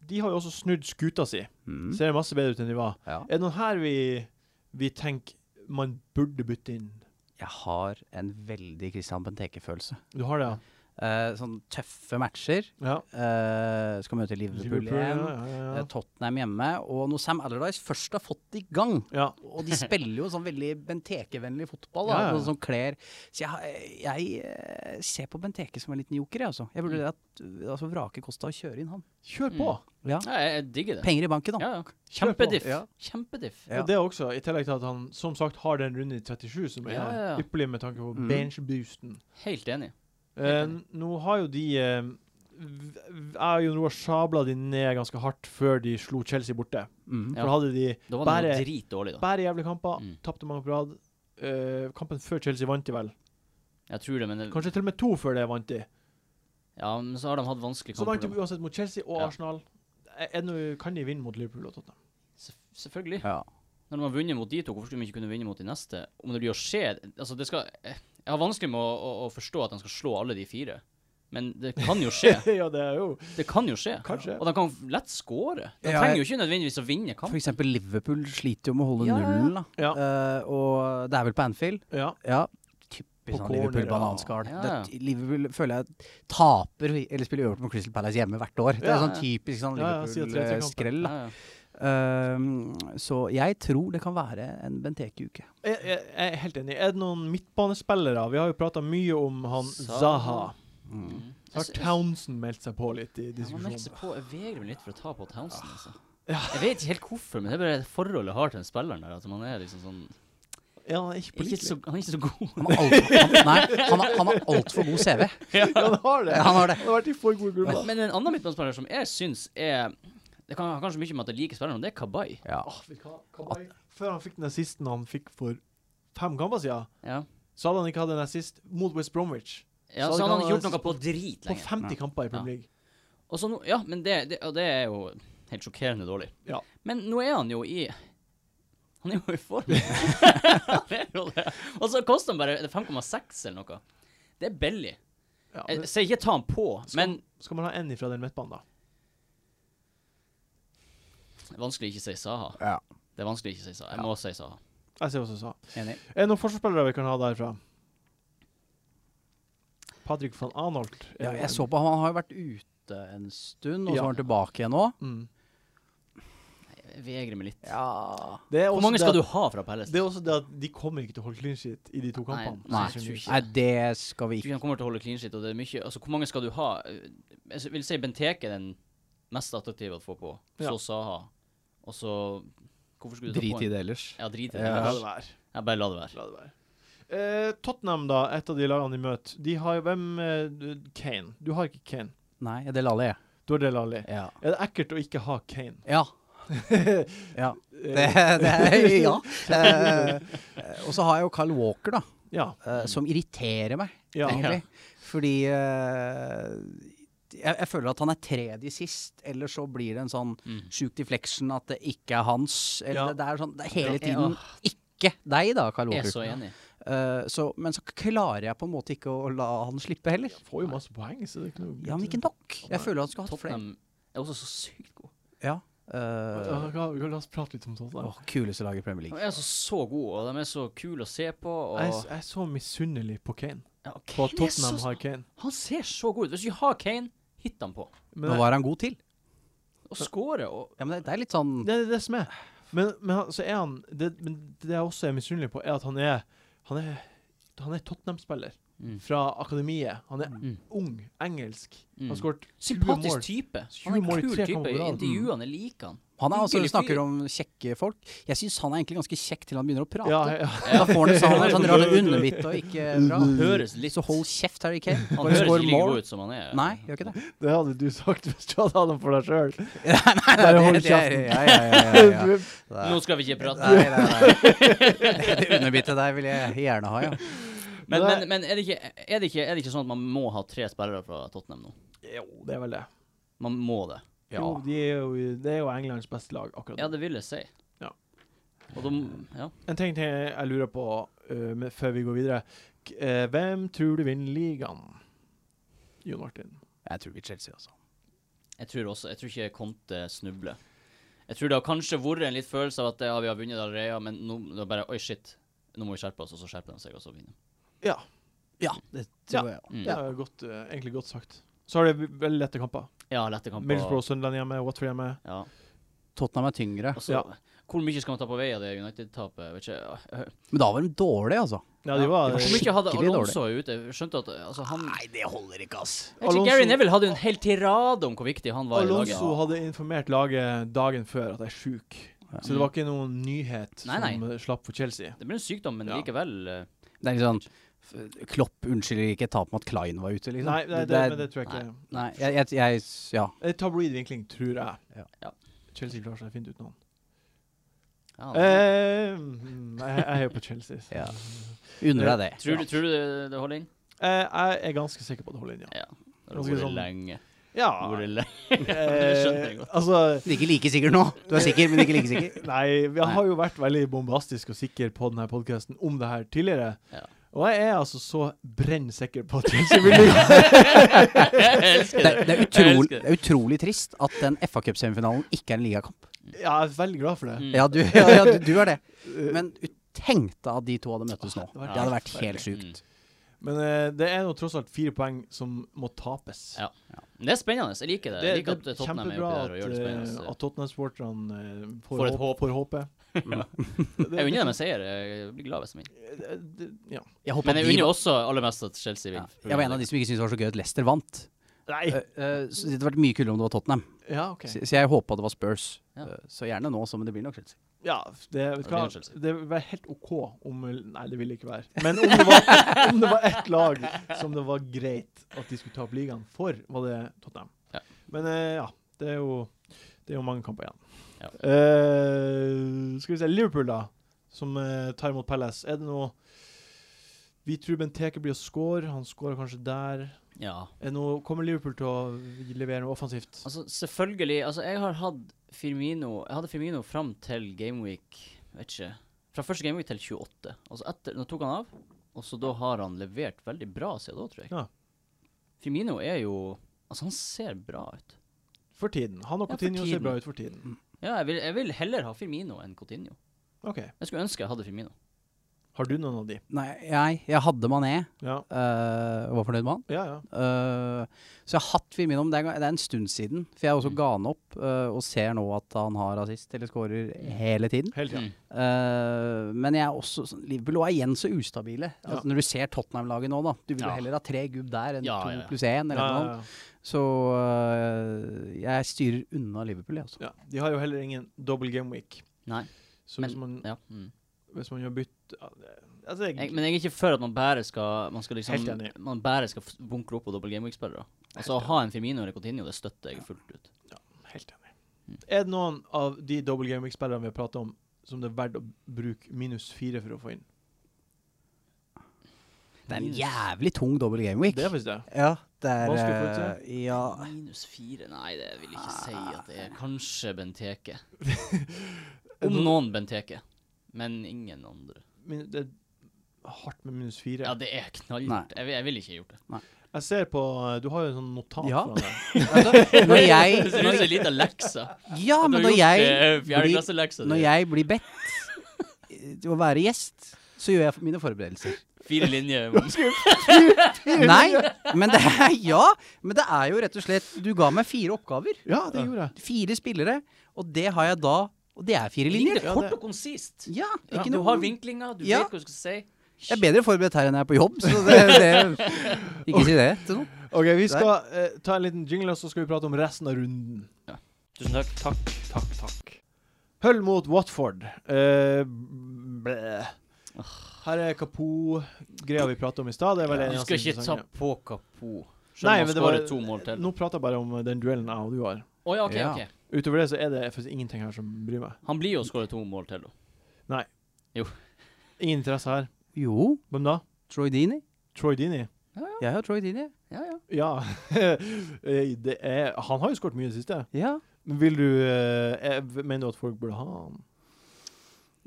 de har jo også snudd skuta si. Mm. Ser masse bedre ut enn de var. Ja. Er det noen her vi, vi tenker man burde bytte inn? Jeg har en veldig Christian Benteke-følelse. Du har det, Eh, sånn tøffe matcher. ja? ja. Eh, skal møte Liverpool, igjen. ja, ja, eh, ja. Tottenham hjemme. Og når Sam Allardyce først har fått det i gang ja. Og de spiller jo sånn veldig Benteke-vennlig fotball. Da, Ja, ja, ja. sånn som kler. Så jeg, har- jeg eh, ser på Benteke som en liten joker, jeg altså. Jeg burde at, altså, vrake Kosta og kjøre inn han. Kjør Mm. på! Ja. Ja, jeg, jeg digger det. Penger i banken, da. Ja, ja. Kjør på. Kjempediff. Ja. Kjempediff. Ja. Og det også, i tillegg til at han som sagt har den runden i 37, som er Ja, ja, ja. ypperlig med tanke på Mm. benchboosten. Helt enig. Eh, enig. nå har jo de eh, v- v- Jeg og Jon Roar sabla de ned ganske hardt før de slo Chelsea borte. Mm. Ja. For hadde de Da var det Bare- jo dritdårlig, da. Bare jævlige kamper. Mm. Tapte mange på rad. Eh, kampen før Chelsea vant de vel. Jeg tror det, men det, Kanskje til og med to før det vant de. Ja, men så har de hatt vanskelig Så vant de kamp. uansett mot Chelsea og Ja. Arsenal. Er- er det- kan de vinne mot Liverpool og Tottenham? Selvfølgelig. Ja. Når de har vunnet mot de to, hvorfor skulle de ikke kunne vinne mot de neste? Om det blir å skje Altså, det skal eh, Jeg har vanskelig med å, å, å forstå at de skal slå alle de fire. Men det kan jo skje. ja, det er jo Det kan jo skje. Kanskje. Og de kan lett skåre. De Ja, trenger jeg- jo ikke nødvendigvis å vinne For kamp. eksempel Liverpool sliter jo med å holde Ja, ja, ja. nullen, da. Ja. Eh, og det er vel på Anfield. Ja. Ja. Typisk På sånn corner, Liverpool ja. bananskall. Ja, Det- Liverpool føler jeg taper eller spiller øvrig mot Crystal Palace hjemme hvert år. Det er Ja, sånn ja. typisk sånn Ja, ja, siden 30 kamper. Liverpool-skrell. da. Ja, ja. Eh, så jeg tror det kan være en Benteke-uke. Jeg, jeg, jeg er helt enig. Er det noen midtbanespillere? Vi har jo prata mye om han Zaha. Zaha. Mm. Så har Jeg sy- jeg- Townsend meldt seg på litt i Ja, man melder seg diskusjonen. på. Jeg vegrer meg litt for å ta på Townsend. Altså. Jeg vet ikke helt hvorfor, men det er bare det forholdet jeg har til den spilleren der. At man er liksom sånn Ja, han er ikke ikke pålitelig. så, Han er ikke så god. Han har alt- han- nei, han har- han har altfor god CV. Ja, han har det. Ja, han har det. Han har vært i for god gruppe. Men en annen midtbanespiller som jeg syns er Det kan ha kanskje mye med at jeg liker spilleren, og det er Kabay. Ja. Ah, vi kan- kan bare- Før han fikk den assisten han fikk for fem kamper siden, Ja. så hadde han ikke hatt en assist mot West Bromwich. Ja, Så så det han kan hadde være gjort noe på drit På lenge. 50 Nei. kamper i Premier League. Og så nå, ja, men det, det, og det er jo helt sjokkerende dårlig. Ja. Men nå er han jo i Han er jo i form. Han er jo det. og så koster han bare 5,6 eller noe. Det er billig. Ja, men Jeg sier ikke ta han på, men skal, skal man ha en ifra den midtbanen, da? det er vanskelig å ikke si Saha. Ja. Det er vanskelig å ikke si Saha. Jeg må si Saha. Jeg ser hva du sa. Enig. Er det noen forsvarsspillere vi kan ha derfra? Patrick van Arnold. er Ja, jeg en- så på han, han har jo vært ute en stund, og så Eh, Ja. var han tilbake igjen nå. Mm. Jeg vegrer meg litt. Ja. Det er Hvor også mange det skal at- du ha fra Pelles? Det er også det at de kommer ikke til å holde clean sheet i de to Nei, kampene. Nei, jeg tror ikke. nei, det skal vi Du ikke. kan- kommer til å holde clean sheet, og det er mye Altså, hvor mange skal du ha? Jeg vil si Benteke er den mest attraktive å få på. Så Ja. Saha. Og så Hvorfor skulle du ta på Drit i en- det ellers. Ja, drit i det. La det ellers. være. Jeg bare la det være. La det være. Eh, Tottenham, da, et av de lagene de møter, de har jo hvem eh, du- Kane. Du har ikke Kane. Nei, det lar jeg. Du har Del Alli. Ja. Er det ekkelt å ikke ha Kane? Ja. ja. Det, Eh, det Ja. Eh, og så har jeg jo Carl Walker, da, ja. eh, som irriterer meg, ja. egentlig. Fordi eh, jeg, jeg føler at han er tredje sist, eller så blir det en sånn Mm. sjuk deflection at det ikke er hans. Eller Ja. det er sånn det er hele Ja. tiden ikke deg, da, Carl Jeg er Walker. så enig. Eh, så, men så klarer jeg på en måte ikke å la han slippe heller. Får jo masse poeng, så det er ikke noe Ja, men ikke nok. Jeg føler han skulle hatt flere. Tottenham er også så sykt god. Ja. Ja, eh, la- la- La oss prate litt om Tottenham. åh, kuleste lag i Premier De League. er altså så gode, og de er så kule å se på. Og Jeg, er s- jeg er så misunnelig på Kane. ja, På Kane at er Tottenham så- har Kane. Han ser så god ut. Hvis vi har Kane, hit han på. Men Nå var han god til. Og score. Og Ja, men det, det er litt sånn Det er det som er. Men, men han, så er han det, men det jeg også er misunnelig på, er at han er Han er, han er Tottenham-spiller Mm. fra akademiet. Han er Mm. ung, engelsk. Han Mm. har skåret 20 Sympatisk mål. type. Han 20 er mål en i kul tre type. kamper på I rad. Mm. intervjuene liker han. Han er altså, Hyggelig snakker fyr. om kjekke folk. Jeg syns han er egentlig ganske kjakk til han begynner å prate. Ja, ja. Da får han en sånn, en sånn rare underbitt og ikke bra. Høres litt Så hold kjeft, Harry Kane. Han Bare høres ikke skår like mål. god ut som han er. Nei, gjør ikke det. Det hadde du sagt hvis du hadde hatt den for deg sjøl. Nei, nei, Bare det- hold det- kjeften. Ja, ja, ja, ja, ja. Nå skal vi ikke prate. Nei, nei, nei. Det underbittet der vil jeg gjerne ha, ja. Men, Nei. men, men er, det ikke, er, det ikke, er det ikke sånn at man må ha tre spillere fra Tottenham nå? Jo, det er vel det. Man må det. Jo, de er jo, det er jo Englands beste lag akkurat Ja, nå. det vil jeg si. Ja. Og de, ja. En ting til jeg lurer på øh, med, før vi går videre. K eh, hvem tror du vinner ligaen? Jon Martin. Jeg tror vi Chelsea, altså. Jeg tror også Jeg tror ikke Conte snubler. Jeg tror det har kanskje vært en litt følelse av at ja, vi har vunnet allerede, men nå det er bare Oi, shit. Nå må vi skjerpe oss, og så skjerper de seg, og så vinner de. Ja. Ja, det tror jeg. Mm. Det Ja. er godt, øh, egentlig godt sagt. Så har det veldig lette kamper. lette kamper. Middlesbrough, Sunderland hjemme, Watford hjemme. Ja. Tottenham er tyngre. Og så Ja. Hvor mye skal man ta på vei av det United-tapet? Vet ikke. Men da var de dårlige, altså. Ja, de var det var Hvor det, mye hadde skikkelig Alonso ute? Jeg Skjønte at altså, han Jeg det holder ikke, ass. vet ikke, Alonso- Gary Neville hadde jo en hel tirade om hvor viktig han var i Alonso laget. hadde informert laget dagen før at jeg er sjuk. Så det var ikke noen nyhet Nei, nei. som øh, slapp for Chelsea. Det ble en sykdom, men Ja. likevel eh, Det er liksom f- Klopp unnskylder ikke tapet med at Klein var ute, liksom. Nei, det, det, er- men det tror jeg ikke. Nei, jeg, jeg, jeg Ja. Eh, Tabloid vinkling, tror jeg. Ja. Ja. Chelsea klarer seg fint utenom. ja, Eh, mm, jeg jeg heier på Chelsea. så- ja. Unner deg det. Tror du, tror du det, det holder inn? Eh, jeg er ganske sikker på at det holder inn, ja. Ja. Det har Ganske vært sånn- lenge. Ja, Det har vært lenge. skjønner jeg eh, godt. altså Men ikke like sikker nå. Du er sikker, men ikke like sikker. Nei, vi har jo vært veldig bombastisk og sikker på denne podkasten om det her tidligere. Ja. Og jeg er altså så brenn sikker på at Chelsea vil vinne. Jeg elsker Det, det. Mm. det, er, Jeg utrolig, elsker det er utrolig trist at den FA Cup-semifinalen ikke er en ligakamp. Ja, jeg er veldig glad for det. Mm. Ja, du, ja, ja, du, du er det. Eh, Men tenk deg at de to hadde møttes Ah, nå. Det hadde vært helt Mm. sjukt. Men eh, det er nå tross alt fire poeng som må tapes. Ja. Men det er spennende. Jeg liker det. Det, det, Jeg liker at er Tottenham er kjempebra oppi at, der og gjør det eh, spennende. at Tottenham-sporterne eh, får, Får et håp, får håpet. Jeg unner dem en seier. Jeg blir glad hvis de vinner. Det- det- Ja. Jeg håper Men jeg de unner også aller mest at Chelsea Ja. vinner. Jeg var en av de som ikke syntes det var så gøy at Leicester vant. Nei! Eh, så det hadde vært mye kulere om det var Tottenham. Ja, OK. Så, så jeg håpa det var Spurs. Ja. Eh, så gjerne nå, så, men det blir nok Chelsea. Ja, det, vet du hva? blir jo Chelsea. det vil være helt OK om Nei, det vil det ikke være. Men om det, var, om det var ett lag som det var greit at de skulle ta opp ligaen for, var det Tottenham. Ja. Men eh, ja, det er jo det er jo mange kamper igjen. Ja. Eh, skal vi se Liverpool, da, som eh, tar imot Palace. Er det noe Vi tror Benteke blir å score. Han scorer kanskje der. Ja. Er det noe, kommer Liverpool til å levere noe offensivt? Altså, selvfølgelig Altså, jeg har hatt Firmino Jeg hadde Firmino fram til gameweek Vet ikke Fra første gameweek til 28. Altså etter Nå tok han av, og så da har han levert veldig bra siden da, tror jeg. Ja. Firmino er jo Altså, han ser bra ut. For tiden. Han og Ja, for Coutinho ser tiden. Mm. bra ut for tiden. Ja, jeg vil, jeg vil heller ha Firmino enn Coutinho. OK. Jeg skulle ønske jeg hadde Firmino. Har du noen av de? Nei, jeg, jeg hadde Mané. Ja. eh, og var fornøyd med han. Ja, ja. Eh, så jeg har hatt Firmino, men det er, ga- det er en stund siden. For jeg også Mm. ga han opp, eh, og ser nå at han har assist eller scorer hele tiden. Hele tiden. Mm. Eh, men jeg er også sånn- Liverpool var igjen så ustabile. Ja. Altså, når du ser Tottenham-laget nå, da. Du vil jo Ja. heller ha tre gubb der enn Ja, to ja, ja. pluss én, eller Ja, noe ja, sånt. ja. Så øh, jeg styrer unna Liverpool, jeg altså. også. Ja, de har jo heller ingen double game week. Nei. Så hvis, man, Ja. Mm. hvis man gjør bytt ja, det- altså, jeg, Jeg, men jeg er ikke for at man bare skal Man skal liksom Helt enig. Man bare skal f- bunkre opp på dobbel gameweek-spillere. Altså, å ha en Firmino eller Coutinho, det støtter jeg fullt ut. Helt enig. Er det noen av de double game week-spillerne vi har pratet om, som det er verdt å bruke minus fire for å få inn? Det er en Minus- jævlig tung dobbel gameweek. Det er faktisk det. Ja, det er Vanskelig å forutse. øh, Ja. Minus fire? Nei, det vil jeg ikke si at det er. Kanskje Benteke. Om Mm. noen Benteke. Men ingen andre. Min, det er hardt med minus fire. Ja, det er Nei. knallhardt. Jeg, vil- jeg ville ikke gjort det. Jeg ser på eh, Du har jo en sånn notat Ja. foran deg. Når jeg Det ser ut som en liten lekse. Ja, men når eh, jeg blir, Fjerdeklasseleksa når di. jeg blir bedt til å være gjest, så gjør jeg mine forberedelser. Fire linjer. Nei, men det er Ja! Men det er jo rett og slett Du ga meg fire oppgaver. Ja, det gjorde jeg. Fire spillere, og det har jeg da Og det er fire Linjer linjer. er kort og konsist. Ja, Ja, ikke du noe har vinklinga, du Ja. vet hva du skal si. Jeg er bedre forberedt her enn jeg er på jobb, så det, det Ikke si det til noen. OK, vi skal eh, ta en liten jingle, og så skal vi prate om resten av runden. Tusen takk. Takk, takk, takk. Hull mot Watford. Eh, blæ. Her er Kapo-greia vi pratet om i stad. Det er vel en Du av skal sine ikke ta sanger. på Kapo. Selv Nei, om han men det var- skårer to mål til. Å Nå prater jeg bare om eh, den duellen jeg og du har. ja, OK. Ja. ok. Utover det så er det faktisk ingenting her som bryr meg. Han blir jo å skåre to mål til, da. Ingen interesse her. Jo, Hvem da? Troy Dini. Troy Dini? Jeg har Troy Dini. Ja, ja. Ja. Eh, det er, han har jo skåret mye i det siste. Ja. Men vil du eh, eh, Mener du at folk burde ha han?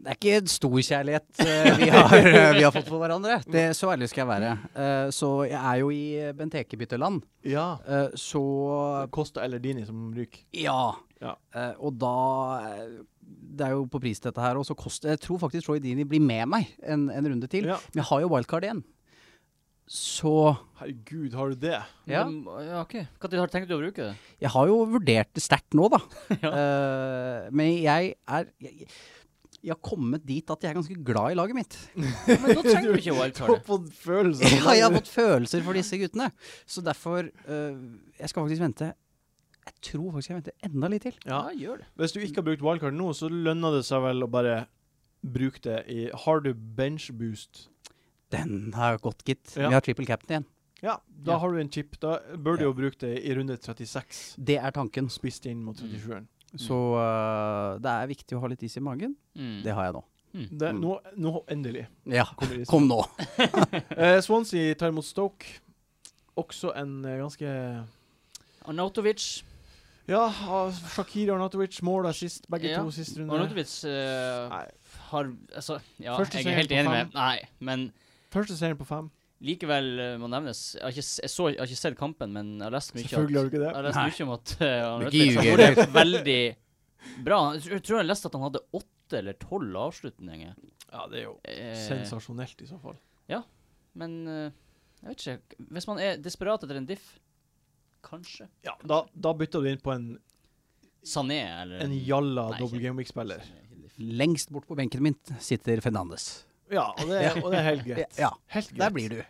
Det er ikke en stor kjærlighet eh, vi, har, eh, vi har fått for hverandre. Det, så ærlig skal jeg være. Eh, så jeg er jo i eh, Benteke-bytteland. Ja. Eh, så Kosta eller Dini som ryker? Ja. Ja. Eh, og da eh, Det er jo på pris, dette her. Og så kost, jeg tror faktisk Troy Dini blir med meg en, en runde til. Ja. Men jeg har jo wildcard igjen. Så Herregud, har du det? Ja. Men, ja ok. Når har du tenkt å bruke det? Jeg har jo vurdert det sterkt nå, da. Eh, men jeg er jeg, jeg har kommet dit at jeg er ganske glad i laget mitt. Men nå trenger du ikke På, wildcardet. på følelser. Ja, jeg har fått følelser for disse guttene. Så derfor eh, Jeg skal faktisk vente Jeg tror faktisk jeg venter enda litt til. Ja. gjør det. Hvis du ikke har brukt wildcard nå, så lønner det seg vel å bare bruke det i Har du benchboost? Den har jo gått, gitt. Ja. Vi har triple cap'n igjen. Ja, da Ja. har du en chip. Da bør du Ja. jo bruke det i runde 36. Det er tanken. Spist inn mot 37-eren. Så eh, det er viktig å ha litt is i magen. Mm. Det har jeg nå. Det- Nå, nå endelig. Ja, kommer det i kom nå. Eh, Swansea tar imot Stoke. Også en eh, ganske Arnautovic. Ja, ah, Shakir og Arnatovic måla sist, begge Ja, to sist runde. Arnautovic eh, Nei, har Altså, ja, Første jeg seier er helt på enig fem. med Nei, men Første serien på fem. likevel eh, må nevnes Jeg har ikke, s- jeg så, jeg har ikke sett kampen, men jeg har lest mye Selvfølgelig har at, du ikke jeg det. har lest Nei. mye om at eh, ikke Arnautovic ljuger, har vært veldig bra. Jeg tror- jeg tror jeg leste at han hadde åtte eller tolv avslutninger. Ja, Det er jo Eh, sensasjonelt, i så fall. men eh, jeg vet ikke Hvis man er desperat etter en diff, kanskje Ja, Da, da bytter du inn på en, Sané eller en jalla Nei, double ikke- game week-spiller. Sané, ikke diff. Lengst bort på benken min sitter Fernandes. Ja, og det, og det er helt greit. Ja, Helt der greit. blir du.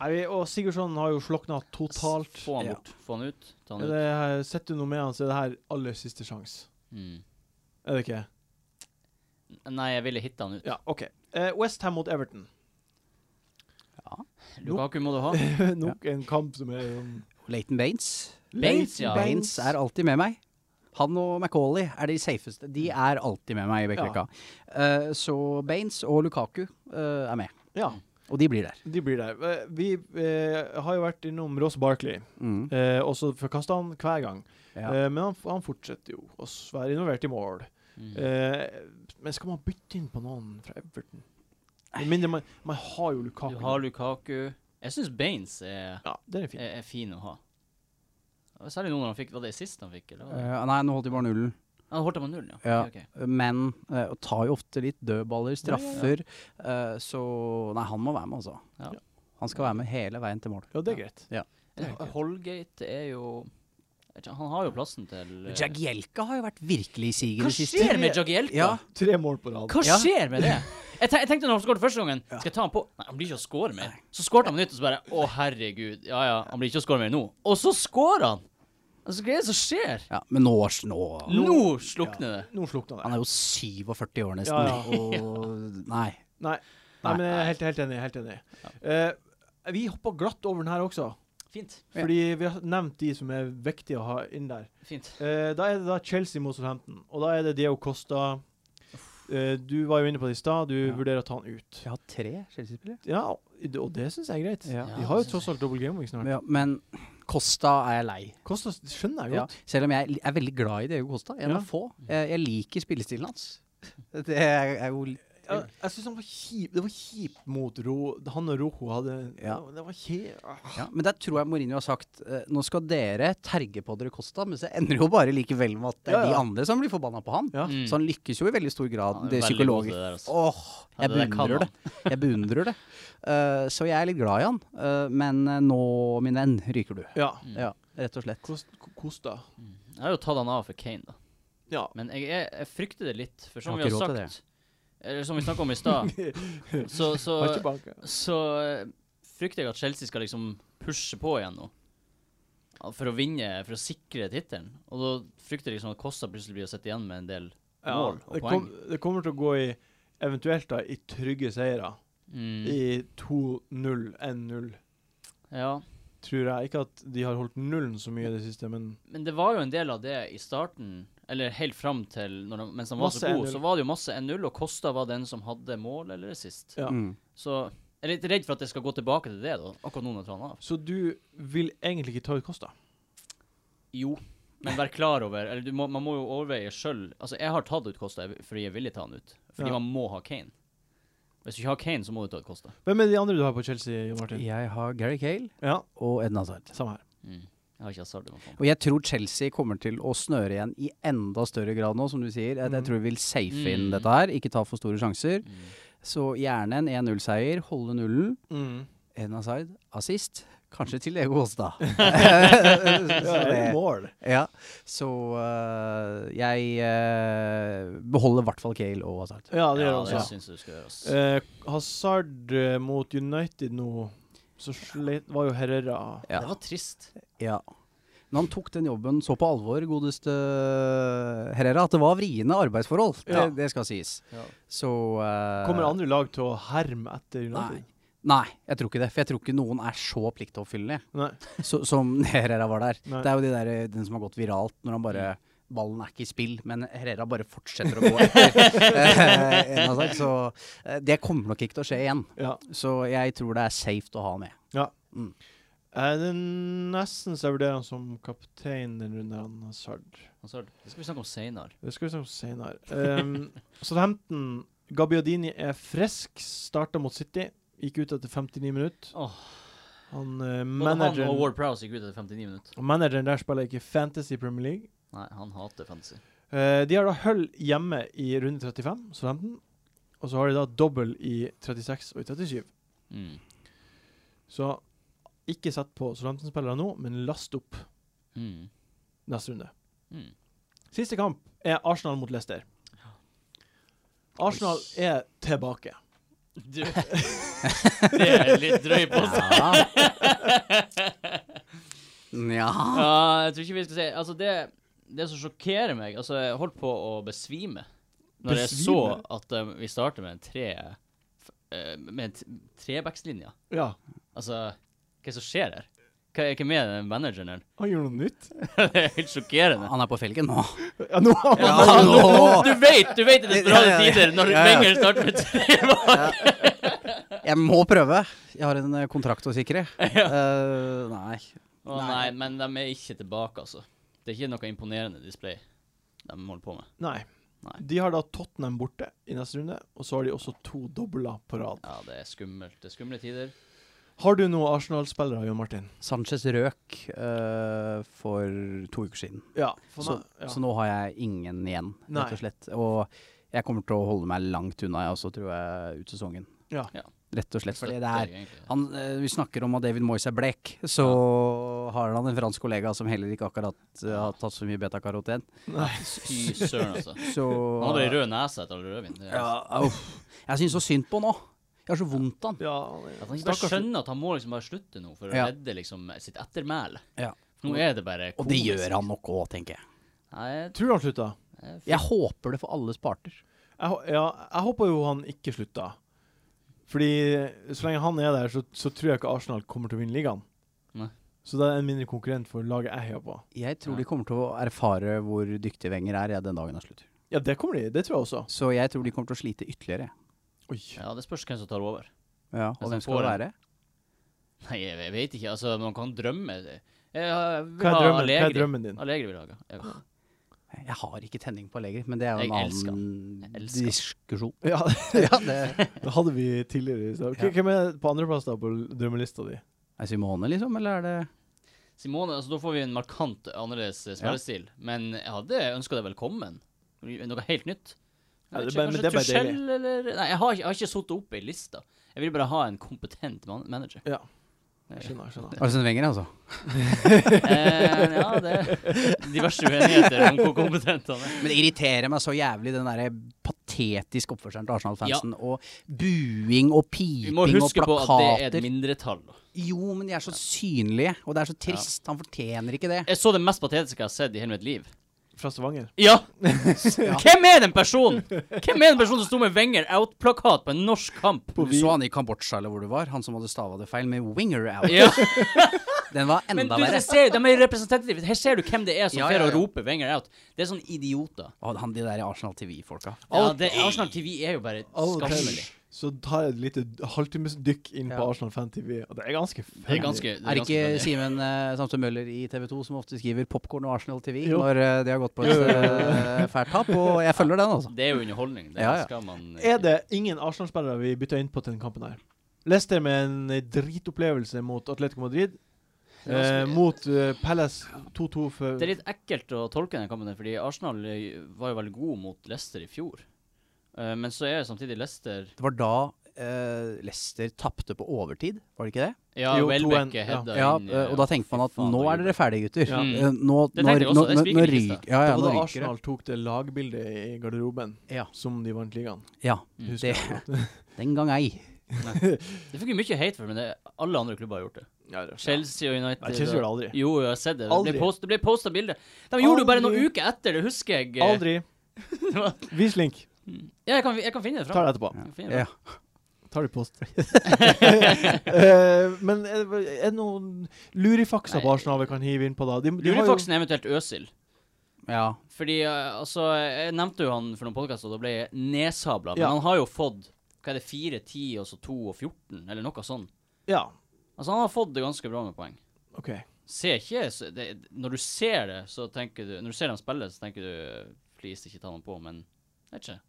Nei, vi- og Sigurdsson har jo slokna totalt. Få han Ja. bort. Få han ut. Ta Er han ut. det, setter du noe med han, så er det her aller siste sjanse. Mm. Er det ikke? Nei, jeg ville hitte han ut. Ja, OK. Eh, West Westham mot Everton. Lukaku må du ha. Eh, Nok en kamp som er um, Leighton Baines. Baines, ja. Baines er alltid med meg. Han og Macauley er de safeste. De er alltid med meg i Bekkerekka. Eh, så Baines og Lukaku eh, er med. Ja, Og de blir der. de blir der. Eh, Vi eh, har jo vært innom Ross Barkley, Mm. eh, og så forkasta han hver gang. Ja. Eh, men han, han fortsetter jo å s- være involvert i mål. Mm. Eh, men skal man bytte inn på noen fra Everton? Med mindre man, man har jo Lukaku. Du har Lukaku. Jeg syns Baines er, ja, den er fin. Eh, er, er fin å ha. Og Særlig nå når han fikk Var det sist han fikk? Eller? var det- Eh, nei, nå holdt de bare nullen. Han holdt han på null, ja. Ja. Ok, ok. Men eh, og tar jo ofte litt dødballer, straffer. eh, så nei, han må være med, altså. Ja. Han skal være med hele veien til mål. Ja, det er greit. Eller, Det er Holgate er jo jeg vet ikke, Han har jo plassen til eh, Jagielka har jo vært virkelig i siget i Hva det siste. skjer med Jagielka? Ja. Tre mål på rad. Hva Ja. skjer med det? Jeg, te jeg tenkte når han skåret første gangen, skal jeg ta han på? Nei, han blir ikke å score mer. Så skårte han på nytt, og så bare Å, herregud. Ja ja, han blir ikke å score mer nå. Og så scorer han! Altså, hva er det som skjer? Ja, men nå, nå Nå slukner det. Nå slukna det. Han er jo 47 år nesten. Ja, ja. Og nei. Nei. Nei, men jeg er helt, helt enig. Helt enig. Eh, vi hoppa glatt over den her også, Fint. Ja. fordi vi har nevnt de som er viktige å ha inn der. Fint. Eh, da er det da Chelsea mot Southampton, og da er det Diego Costa. Eh, du var jo inne på det i stad, du Ja. vurderer å ta han ut. Vi har tre Chelsea-spillere. Ja, og det syns jeg er greit. Ja. Vi har jo tross alt dobbel gameweek snart. Ja, men Costa er jeg lei. Costa skjønner jeg Ja, godt. selv om jeg er veldig glad i Diego Costa. En Ja. av få. Jeg, jeg liker spillestilen hans. Det er, er jo Ja. Jeg syns han var kjip. Det var kjipt mot Ro. Han og Rojo hadde Ja. Det var kje... ah. Ja, men der tror jeg Mourinho har sagt eh, nå skal dere terge på dere Costa, men så ender det jo bare likevel med at det er Ja, ja. de andre som blir forbanna på han. Ja. Mm. Så han lykkes jo i veldig stor grad, Han er det veldig god til psykologisk. det der, altså. Åh, Ja, jeg det der kan beundrer det. Jeg beundrer det. Eh, så jeg er litt glad i han. eh, men eh, nå, min venn, ryker du. Ja. Ja, rett og slett. Kost- Costa. Jeg har jo tatt han av for Kane, da. Ja. Men jeg, jeg, jeg frykter det litt, for som vi Har har ikke råd til sagt Eller som vi snakka om i stad, så, så, Var ikke bak. så eh, frykter jeg at Chelsea skal liksom pushe på igjen nå. Ja, For å vinne, for å sikre tittelen. Og da frykter jeg liksom at Kosta plutselig blir å sitte igjen med en del Ja, mål og det, poeng. kom, det kommer til å gå i eventuelt da, i trygge seire. Mm, I 2-0, 1-0, ja. tror jeg. Ikke at de har holdt nullen så mye i det siste, men Men det var jo en del av det i starten, eller helt fram til når han, mens han var Masse så god, 1-0. så var det jo masse 1-0, og Kosta var den som hadde mål eller sist. Ja. Mm. Så jeg er litt redd for at jeg skal gå tilbake til det, da, akkurat nå når jeg tar han av. Så du vil egentlig ikke ta ut Kosta? Jo, men vær klar over Eller du må, man må jo overveie sjøl Altså, jeg har tatt ut Kosta fordi jeg ville ta han ut. Fordi Ja. man må ha Kane. Hvis du ikke har Kane, så må du ta ut Kosta. Hvem er de andre du har på Chelsea, Jon Martin? Jeg har Gary Cale Ja, og Eden Hazard. samme her. Mm. Jeg har ikke Hazard. i hvert fall. Og jeg tror Chelsea kommer til å snøre igjen i enda større grad nå, som du sier. Jeg, jeg tror vi vil safe inn Mm. dette her, ikke ta for store sjanser. Mm. Så gjerne en 1-0-seier, holde nullen. Mm. Eden Hazard, assist. Kanskje til Lego Åstad. Ja, så, det er det- mål. ja. så øh, jeg øh, beholder i hvert fall Cale og Hazard. Ja, det gjør Ja, det han også. syns jeg du skal gjøre. ass. Eh, Hazard eh, mot United nå, så slet, var jo Herrera Ja. Det var trist. Ja. Men han tok den jobben så på alvor, godeste Herrera, at det var vriene arbeidsforhold. Ja. Det, det skal sies. Ja. Så øh, Kommer andre lag til å herme etter Nei. United? Nei, jeg tror ikke det. For jeg tror ikke noen er så pliktoppfyllende Nei. så, som Herrera var der. Nei. Det er jo de der, eh, den som har gått viralt når han Mm. bare Ballen er ikke i spill, men Herrera bare fortsetter å gå etter. eh, en av seg, så eh, det kommer nok ikke til å skje igjen. Ja. Så jeg tror det er safe å ha med. Ja. Mm. Eh, det er nesten så jeg vurderer han som kaptein den runden her, han Hazard. Hazard. Det skal vi snakke om seinere. Det skal vi snakke om senere. Um, Southampton, Gabbiadini er frisk, starta mot City. Gikk ut etter 59 minutter. Åh. Han, eh, Både han og manageren, Ward Prowse gikk ut etter 59 minutter. manageren der spiller ikke Fantasy i Premier League. Nei, han hater fantasy. Eh, de har da hull hjemme i runde 35, Southampton. Og så har de da dobbel i 36 og i 37. Mm. Så ikke sett på Southampton-spillere nå, men last opp Mm. neste runde. Mm. Siste kamp er Arsenal mot Leicester. Arsenal er tilbake. Du. Det er litt drøy på Ja. Nja Ja, jeg tror ikke vi skal si Altså, det, det som sjokkerer meg Altså, jeg holdt på å besvime når jeg så Besvime? at eh, vi starter med en tre f- eh, Med en t- trebackslinje. Ja. Altså, hva er det som skjer her? Hva er ikke med den manageren her? Han gjør noe nytt. Det er helt sjokkerende. Han er på felgen nå. Ja, nå Ja, Ja, nå, nå- du vet du vet i desperate Ja, ja, ja. tider når Ja, ja. Wenger starter med tre bak. Jeg må prøve. Jeg har en eh, kontrakt å sikre. Eh, nei. Å nei, men de er ikke tilbake, altså. Det er ikke noe imponerende display de holder på med. Nei. Nei. De har da Tottenham borte i neste runde, og så har de også to dobler på rad. Ja, det er skummelt. Det er skumle tider. Har du noen Arsenal-spillere, Jon Martin? Sanchez røk eh, for to uker siden. Ja. Så, så nå har jeg ingen igjen, Nei. rett og slett. Og jeg kommer til å holde meg langt unna, jeg også, tror jeg, ut sesongen. Ja. Ja. Rett og slett. Fordi det Støtter er egentlig det. han, eh, Vi snakker om at David Moyes er blek, så har han en fransk kollega som heller ikke akkurat eh, har tatt så mye betakaroten. Fy søren, altså. Så Han har bare rød nese etter all rødvin. Det er- Ja, uff. Jeg syns så synd på han nå. Jeg har så vondt av han. ja, At han ikke bare skjønner at han må liksom bare slutte nå for å Ja. redde liksom sitt ettermæle. Ja. Nå er det bare Og det gjør han nok òg, tenker jeg. Nei, Tror du han slutta? jeg- Jeg håper det for alles parter. Jeg, hå- ja, jeg håper jo han ikke slutta. Fordi så lenge han er der, så, så tror jeg ikke Arsenal kommer til å vinne ligaen. Nei. Så det er en mindre konkurrent for laget jeg heier på. Jeg tror Ja. de kommer til å erfare hvor dyktige Wenger er ja, den dagen han slutter. Ja, det kommer de. Det tror jeg også. Så jeg tror de kommer til å slite ytterligere. Oi. Ja, det spørs hvem som tar over. Ja, Men og hvem så skal får det han- være? Nei, jeg, jeg vet ikke. Altså, man kan drømme. Jeg har- jeg vil Hva, er ha drømmen, hva er Allegri. drømmen din? Allegri vil jeg ha. Jeg, Jeg har ikke tenning på Allegri, men det er jo Jeg en elsker annen Jeg elsker han. diskusjon. Ja, ja, det det hadde vi tidligere i stad. Ja. Hvem- Hvem er på andreplass da på l- drømmelista di? Er Simone, liksom, eller er det Simone, altså da får vi en markant annerledes eh, spillestil. Men jeg hadde ønska det velkommen. Noe helt nytt. Ja, Jeg det bare- vet ikke, men kanskje det er bare Tuchel, eller Nei, jeg har, ikke- jeg har ikke sittet opp i lista. Jeg vil bare ha en kompetent man manager. Ja. Eh, Skjønner, skjønner. Arsen Wenger, altså. eh, ja, det er diverse uenigheter om hvor kompetent han er. Men det irriterer meg så jævlig, den derre patetiske oppførselen til Arsenal-fansen. Og buing og Vi piping må og huske på at det er et plakater. mindretall. da. Jo, men de er så synlige, og det er så trist. Han fortjener ikke det. Jeg så det mest patetiske jeg har sett i hele mitt liv. Fra Stavanger? Ja! Hvem er den personen? Hvem er den personen som sto med Wenger out-plakat på en norsk kamp? Du så han i Kambodsja eller hvor du var, han som hadde stava det feil med winger out. Ja. Den var Men enda du, verre. det ser, de er representative. Her ser du hvem det er som Ja, fer ja, og ja. roper Wenger out. Det er sånne idioter. Og han de der i Arsenal TV-folka. Ja, det, Arsenal TV er jo bare Av og til skammelig. så tar jeg et lite halvtimesdykk inn på Ja. Arsenal Fan TV, og det er ganske funny. Det er ganske det Er det ganske ikke funny. Simen eh, Samson Møller i TV 2 som ofte skriver 'popkorn og Arsenal TV' Jo. når eh, de har gått på Jo, et jo, jo. eh, fælt tap? Og jeg følger den, altså. Det er jo underholdning. Det Ja, ja. skal man Er det ingen Arsenal-spillere vi bytta inn på til denne kampen her? Leicester med en eh, dritopplevelse mot Atletico Madrid. Det er ganske- Eh, mot eh, Palace 2-2 for Det er litt ekkelt å tolke den kampen, der, fordi Arsenal eh, var jo veldig god mot Leicester i fjor. Eh, Men så er jo samtidig Leicester Det var da eh, Leicester tapte på overtid, var det ikke det? Ja, Jo, Welbeck 2-1, ja. headda Ja, inn. eh, og da tenker man at faen, nå det er dere ferdige, gutter. Ja. Mm. Eh, Nå, Det nå, tenkte jeg nå, også, det nå, nå spiker i ryker lista. ja, ja, det nå var da ryker det. Arsenal tok det lagbildet i garderoben Ja. som de vant ligaen. Ja, Mm. Husker det, jeg. den gang ei. Det fikk jo mye hate for det, men det, alle andre klubber har gjort det. Ja, det- Chelsea og United Nei, Chelsea og- gjorde det aldri. Jo, jeg har sett det. Det Aldri. ble post- Det ble posta bilde. De gjorde det jo bare noen Aldri. uker etter, det husker jeg. eh, Aldri. det var- Vis link. Ja, jeg kan, jeg kan finne det Tar fram. det etterpå. Jeg kan finne det Ja. fram. Tar det i post. Eh, men er det, er det noen lurifakser på Nei. Arsenal vi kan hive inn på, da? De, de har jo- Lurefaksen er eventuelt Øsil. ja. Fordi, eh, altså, jeg nevnte jo han for noen podkaster, og da ble jeg nedsabla. Ja. Men han har jo fått hva er det, 4, 10, og så 2 og 14, eller noe sånn. Ja, Altså, han har fått det ganske bra med poeng. OK. Ser ikke så det, Når du ser det, så tenker du Når du ser han spille, så tenker du Please, ikke ta han på, men jeg vet ikke.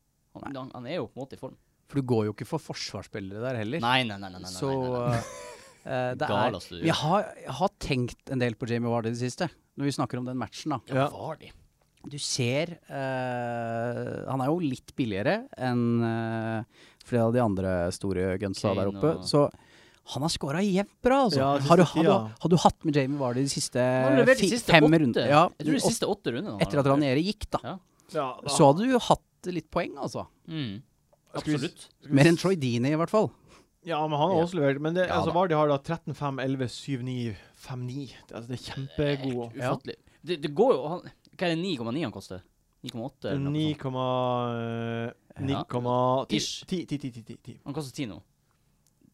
Han, han, han er jo på en måte i form. For du går jo ikke for forsvarsspillere der heller. Nei, nei, nei. nei, nei, nei, Så nei, nei. altså. eh, det er Galeste du gjør. Jeg har, jeg har tenkt en del på Jamie Vardy i det siste, når vi snakker om den matchen. da. Ja. var de? Du ser eh, Han er jo litt billigere enn eh, flere av de andre store gunsa Kane der oppe. og- Så han har scora jevnt bra, altså. Ja, siste har, du, tida. har, du, har du hatt med Jamie Vardy de siste, Han har levert de fi- siste fem åtte. rundene? Ja, Eh, jeg tror de åtte- siste åtte rundene. han har etter at levert. Ranieri gikk, da. Ja. Ja, da- Så hadde du hatt litt poeng, altså. Mm. Skal vi- Absolutt. skal vi- Mer enn Troy Dini, i hvert fall. Ja, men han har Ja. også levert. Men det, Ja altså, da. Vardy har da 13, 5, 11, 7, 9, 5, 9. Det, altså, det er Eh, kjempegode. Helt ufattelig. Det, det går jo han, Hva er det 9,9 han koster? 9,8 eller noe sånt? 9,10. Ish. 10, 10, 10, 10, 10. Han koster 10 nå.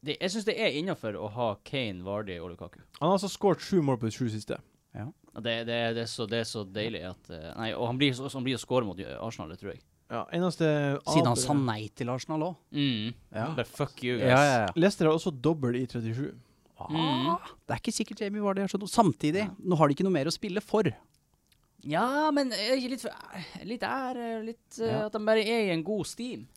Det, jeg syns det er innafor å ha Kane, Vardy og Lukaku. Han har altså skåret sju mål på de sju siste. Ja, Det, det, det, er, så, det er så deilig at eh, Nei, og han blir, så- han blir å score mot eh, Arsenal, det tror jeg. Ja, eneste Siden han andre- sa nei til Arsenal òg. Mm. Ja. Bare fuck you, Ja, guys. ja, ja. Ah, Leicester har også dobbel i 37. Mm. Det er ikke sikkert Jamie Vardy er sånn. Samtidig, nå har de ikke noe mer å spille for. Ja, men er ikke litt, for- litt ære litt, eh, Ja. At de bare er i en god steam.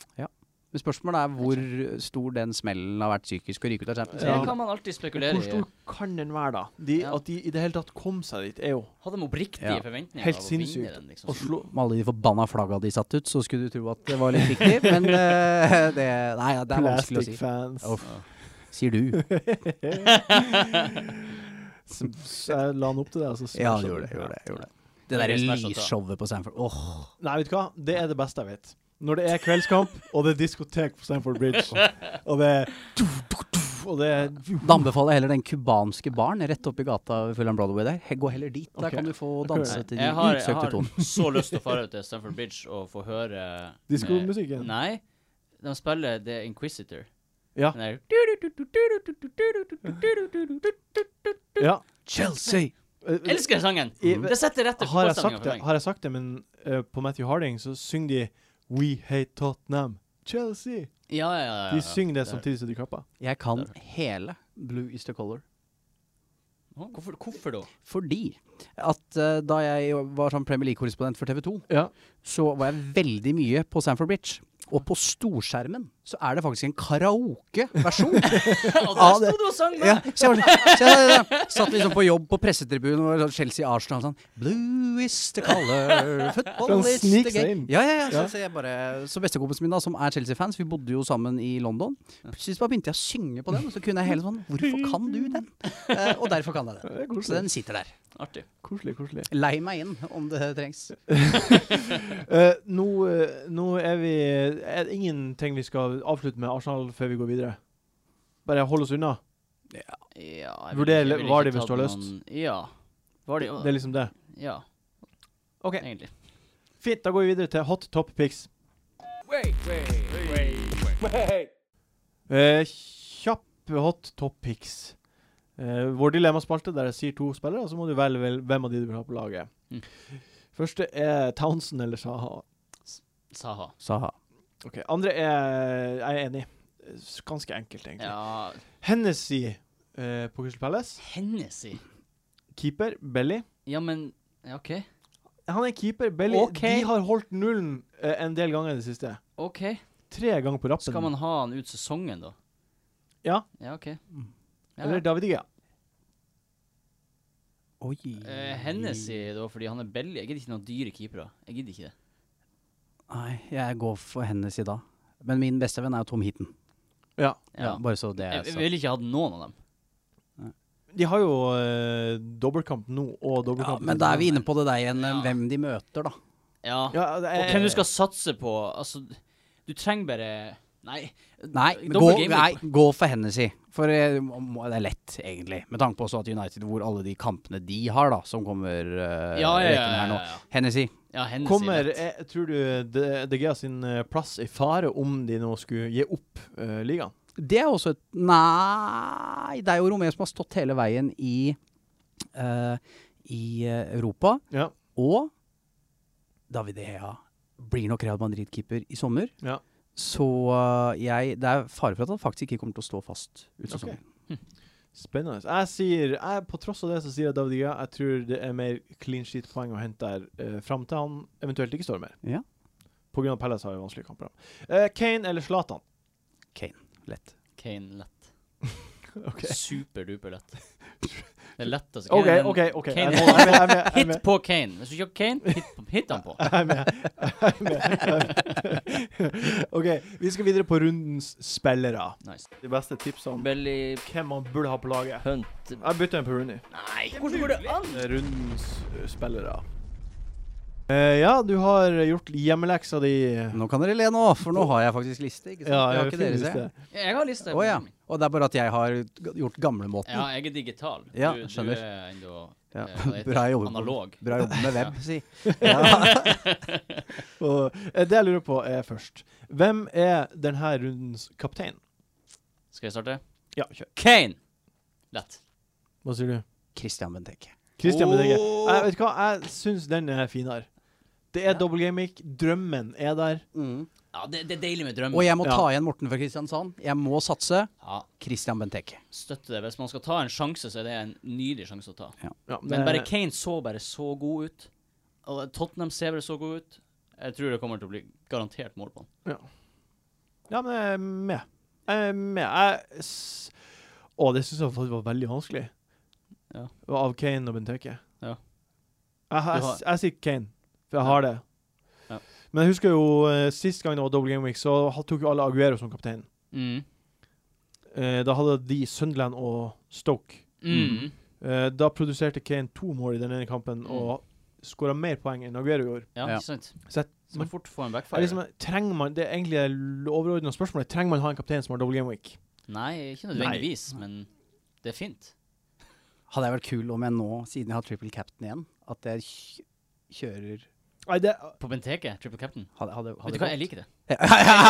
Men spørsmålet er hvor stor den smellen har vært psykisk å ryke ut av Champions Det Ja. League. kan man alltid spekulere Hvor i. stor kan den være, da? De, Ja. At de i det hele tatt kom seg dit, er jo Hadde de oppriktige Ja. forventninger Helt av å sinnssykt. vinne den? liksom? å slå Med alle de forbanna flagga de satte ut, så skulle du tro at det var litt riktig, men eh, det Nei, ja, det er vanskelig å Plastic si. fans. Uff. Sier du. Så så jeg la han opp til det. Altså, Sånn Ja, det gjorde det. Gjorde det, gjorde det. Det Det er derre smash og ta. lysshowet på Sanford. Åh, Nei, vet du hva? Det er det beste jeg vet. Når det er kveldskamp, og det er diskotek på Stamford Bridge, og det er Og det er Da anbefaler jeg heller den cubanske baren rett oppi gata ved Fulham Broadway der. He- Gå heller dit. Der Ok. kan du få Nei, danse til de jeg har, jeg utsøkte har tonen. så lyst til å fare ut til Stamford Bridge og få høre Diskomusikken. Eh, Nei, de spiller The Inquisitor. Ja. Den der- Ja. Chelsea! Eh, eh, Elsker sangen! I- Det setter rett til Har jeg fotballstemninga sagt for det, meg. har jeg sagt det men eh, på Matthew Harding så synger de We hate Tottenham. Chelsea! Ja, ja, ja, ja, De ja. synger det Der. samtidig som de klapper. Jeg kan hele Blue Easter Color. Å, Hvorfor, hvorfor da? Fordi at eh, da jeg var sånn Premier League-korrespondent for TV 2, Ja. så var jeg veldig mye på Sanford Bridge. Og på storskjermen så er det faktisk en karaokeversjon. Og Ja, der det- sto du og sang med! ja, så jeg var sånn, så jeg, satt liksom på jobb på pressetribunen og var sånn Chelsea-Arsenal og sånn Blue is the color, Kan football is snike seg the game. Sånn inn. Ja, ja, ja. Ja. Så, så, jeg bare, så bestekompisen min da, som er Chelsea-fans, vi bodde jo sammen i London. Plutselig bare begynte jeg å synge på den, og så kunne jeg hele sånn Hvorfor kan du den? Eh, og derfor kan jeg den. Det er Så koselig. den sitter der. Artig. Koselig, koselig. Lei meg inn om det trengs. Eh, nå, eh, nå er vi er det Ingenting vi skal avslutte med Arsenal før vi går videre. Bare hold oss unna. Ja, Vurder jeg ikke var det tatt hvis du har lyst. noen- Ja. Var det, Det er liksom det. ja, OK, egentlig. fint. Da går vi videre til hot top pics. Eh, kjapp hot top picks. Eh, vår dilemmaspalte der jeg sier to spillere, og så må du velge vel, hvem av de du vil ha på laget. Mm. Første er Townsend eller Saha. Saha. Saha. Ok, Andre er jeg er enig. Eh, s- Ganske enkelt, egentlig. Ja, Hennessy eh, på Crystal Palace. Hennessy. Keeper Belly. Ja, men Ja, OK. Han er keeper. Belly Ok. De har holdt nullen eh, en del ganger i det siste. OK. Tre ganger på rappen. Skal man ha han ut sesongen, da? Ja. Ja, OK. Ja, Eller ja. David Igea. Oi. Eh, Hennessy, da, fordi han er billig. Jeg gidder ikke noen dyre keepere. Jeg gidder ikke det. Nei, jeg går for hennes i dag. Men min beste venn er jo Tom Heaton. Ja. Ja. Eh, Bare så det er Jeg, jeg sagt. ville ikke hatt noen av dem. De har jo eh, dobbeltkamp nå, og Ja, dobbeltkamp men da er vi inne på det der igjen, Ja. hvem de møter, da. Ja. ja, eh, det er, Og hvem du skal satse på. Altså, du trenger bare Nei. Nei, Eh, Double gå, game nei, week. gå for Hennessy. For eh, må- det er lett, egentlig. Med tanke på også at United, hvor alle de kampene de har, da, som kommer eh, Ja, ja, ja, rekken her nå. ja, ja. Hennessy. Ja, Hennessy. Kommer, vet. eh, tror du De, de Gea sin eh, plass i fare om de nå skulle gi opp eh, ligaen? Det er også et Nei, det er jo Romeo som har stått hele veien i, eh, i eh, Europa. Ja. Og David Ea blir nok Real Madrid-keeper i sommer. Ja. Så øh, jeg, det er fare for at han faktisk ikke kommer til å stå fast ut sesongen. Spennende. Jeg sier, jeg, på tross av det så sier jeg David Igea. Jeg tror det er mer clean sheet-poeng å hente der eh, fram til han eventuelt ikke står mer. Ja. På grunn av Palace har jo vanskelige kamper. Eh, Kane eller Zlatan? Lett. Kane lett. Ok. Superduper lett. Det er letteste OK, Kane, men OK. ok Jeg Kane- må- jeg er med, jeg er Hit med. på Kane. Hvis du ikke har Kane, hit, på- hit han på. Jeg er med. Jeg er med. Jeg er med. OK, vi skal videre på rundens spillere. Nice. De beste tipsene Belly hvem man burde ha på laget. Hunt Jeg bytter en på Rooney. Nei, hvordan går det an? Rundens eh, spillere. Eh, ja, du har gjort hjemmeleksa di. Nå kan dere le nå, for nå har jeg faktisk liste. ikke sant? det har ikke dere finnes se. det. Jeg har liste. Å ja. Og det er bare at jeg har g- gjort gamlemåten. Ja, jeg er digital. Ja, du, skjønner. Du er ennå Ja. eh, hva heter Bra det? jobba. analog. Bra jobba med web, Ja. si. Ja. Og, eh, det jeg lurer på, er først Hvem er denne rundens kaptein? Skal jeg starte? Ja, kjør. Kane! Lett. Hva sier du? Christian Benteke. Christian Bedegge. Åh! Jeg vet du hva, jeg syns den er finere. Det er Ja. double gamic. Drømmen er der. Ja, det, det er deilig med drømmen. Og jeg må Mm. Ja. ta igjen Morten fra Kristiansand. Jeg må satse. Ja, Christian Benteke. støtte det. Hvis man skal ta en sjanse, så er det en nydelig sjanse å ta. Ja, Men bare det- Kane så bare så god ut. Og Tottenham ser bare så god ut. Jeg tror det kommer til å bli garantert mål på han. Ja, men jeg er med. Jeg er med. Jeg s Å, det syns jeg faktisk var veldig vanskelig. Ja. Det var Av Kane og Benteke. Ja. Jeg, jeg, Du har- s- jeg sier Kane, for jeg har det. Ja. Men jeg husker jo eh, sist gang det var double game week, så ha- tok jo alle Aguero som kaptein. Eh, da hadde de Sunderland og Stoke. Mm. Eh, da produserte Kane to mål i den ene kampen og skåra mer poeng enn Aguero gjorde. Ja, Ja. ikke sant? Så jeg, Så Men- man fort får en jeg backfire. liksom, trenger man, Det er egentlig det overordna spørsmålet. Trenger man ha en kaptein som har double game week? Nei, ikke nødvendigvis, men det er fint. Hadde jeg vært kul om jeg nå, siden jeg har triple captain igjen, at jeg kj- kjører Nei, det, På Benteke, triple captain. hadde, hadde, Vet hadde du hva, gått. jeg liker det. Ja,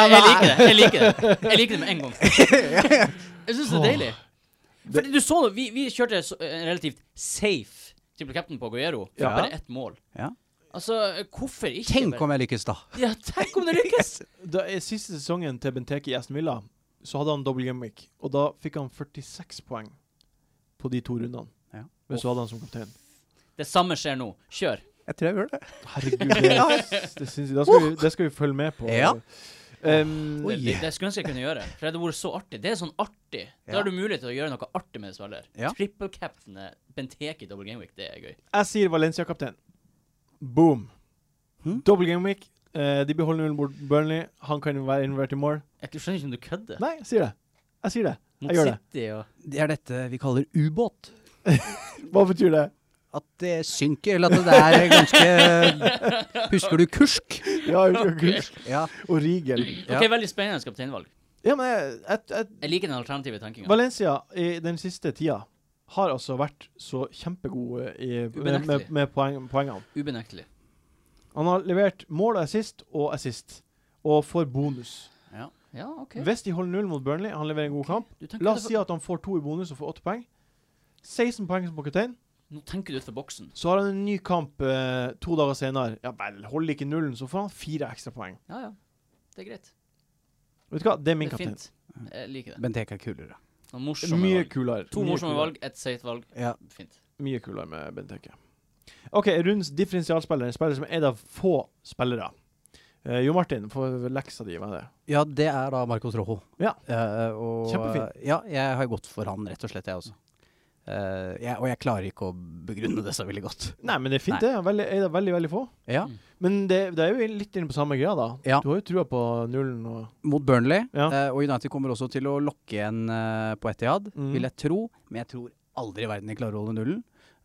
Jeg, jeg liker det jeg liker det Jeg liker det med en gang. Jeg syns det er deilig. Fordi du så det, vi, vi kjørte så- en relativt safe triple captain på Aguero. For Ja. Bare ett mål. Ja. Altså, hvorfor ikke? Tenk bare- om jeg lykkes, da. Ja, tenk om det lykkes! Da, I siste sesongen til Benteke i Aston Villa så hadde han double gimmick, og da fikk han 46 poeng på de to rundene. Ja. Men så hadde han som kaptein. Det samme skjer nå. Kjør. Jeg tror jeg gjør det. Herregud, det, det syns jeg. Da skal vi, det skal vi følge med på. Ja. Um, Oi. Det, det, det skulle jeg ønske jeg kunne gjøre. For det hadde vært så artig. Det er sånn artig. Da Ja. har du mulighet til å gjøre noe artig med spiller. Ja. Triple captain er Benteke i double game week, det er gøy. jeg sier Valencia-kaptein. Boom. Hm? Double gimmick. Eh, de beholder nullen mot Burnley. Han kan være involvert i mål. Jeg skjønner ikke om du kødder. Nei, jeg sier det. Jeg sier det. Mot gjør det. City og Det er dette vi kaller ubåt. Hva betyr det? At det synker, eller at det er ganske Husker du Kursk? Ja, Kursk Ja. og Rigel. Ja. OK, veldig spennende kapteinvalg. Ja, men jeg, jeg, jeg Jeg liker den alternative tenkinga. Valencia i den siste tida har altså vært så kjempegod eh, i, med, Ubenektelig. med, med poeng, poengene. Ubenektelig. Han har levert mål og assist og assist, og får bonus. Ja, OK. Hvis de holder null mot Burnley, han leverer en god kamp. Du tenker La oss utenfor- si at han får to i bonus og får åtte poeng. 16 poeng som kaptein. Nå tenker du utenfor boksen. Så har han en ny kamp eh, to dager senere. Ja vel, holder ikke nullen, så får han fire ekstra poeng. Ja, ja. Det er greit. Vet du hva, det er Det min er kaptein. fint. Jeg liker det. Benteke er kulere. Noen morsomme Mye valg. kulere. To Mye morsomme kulere. valg, ett seigt valg. Ja. Fint. Mye kulere med Benteke. OK, rundens differensialspiller. En spiller som er en av få spillere. Eh, jo Martin, får leksa di med det. ja, det er da Marcos Rojo. Ja. Eh, og, Kjempefin. Ja, jeg har gått for han, rett og slett, jeg også. Eh, jeg, og jeg klarer ikke å begrunne det så veldig godt. Nei, men det er fint, Nei. det. Veldig, en av veldig, veldig få. Ja. Men det, det er jo litt inne på samme greia, da. Ja. Du har jo trua på nullen og Mot Burnley, Ja. eh, og United kommer også til å lokke igjen eh, på Etihad, Mm. vil jeg tro. Men jeg tror aldri i verden de klarer å holde nullen.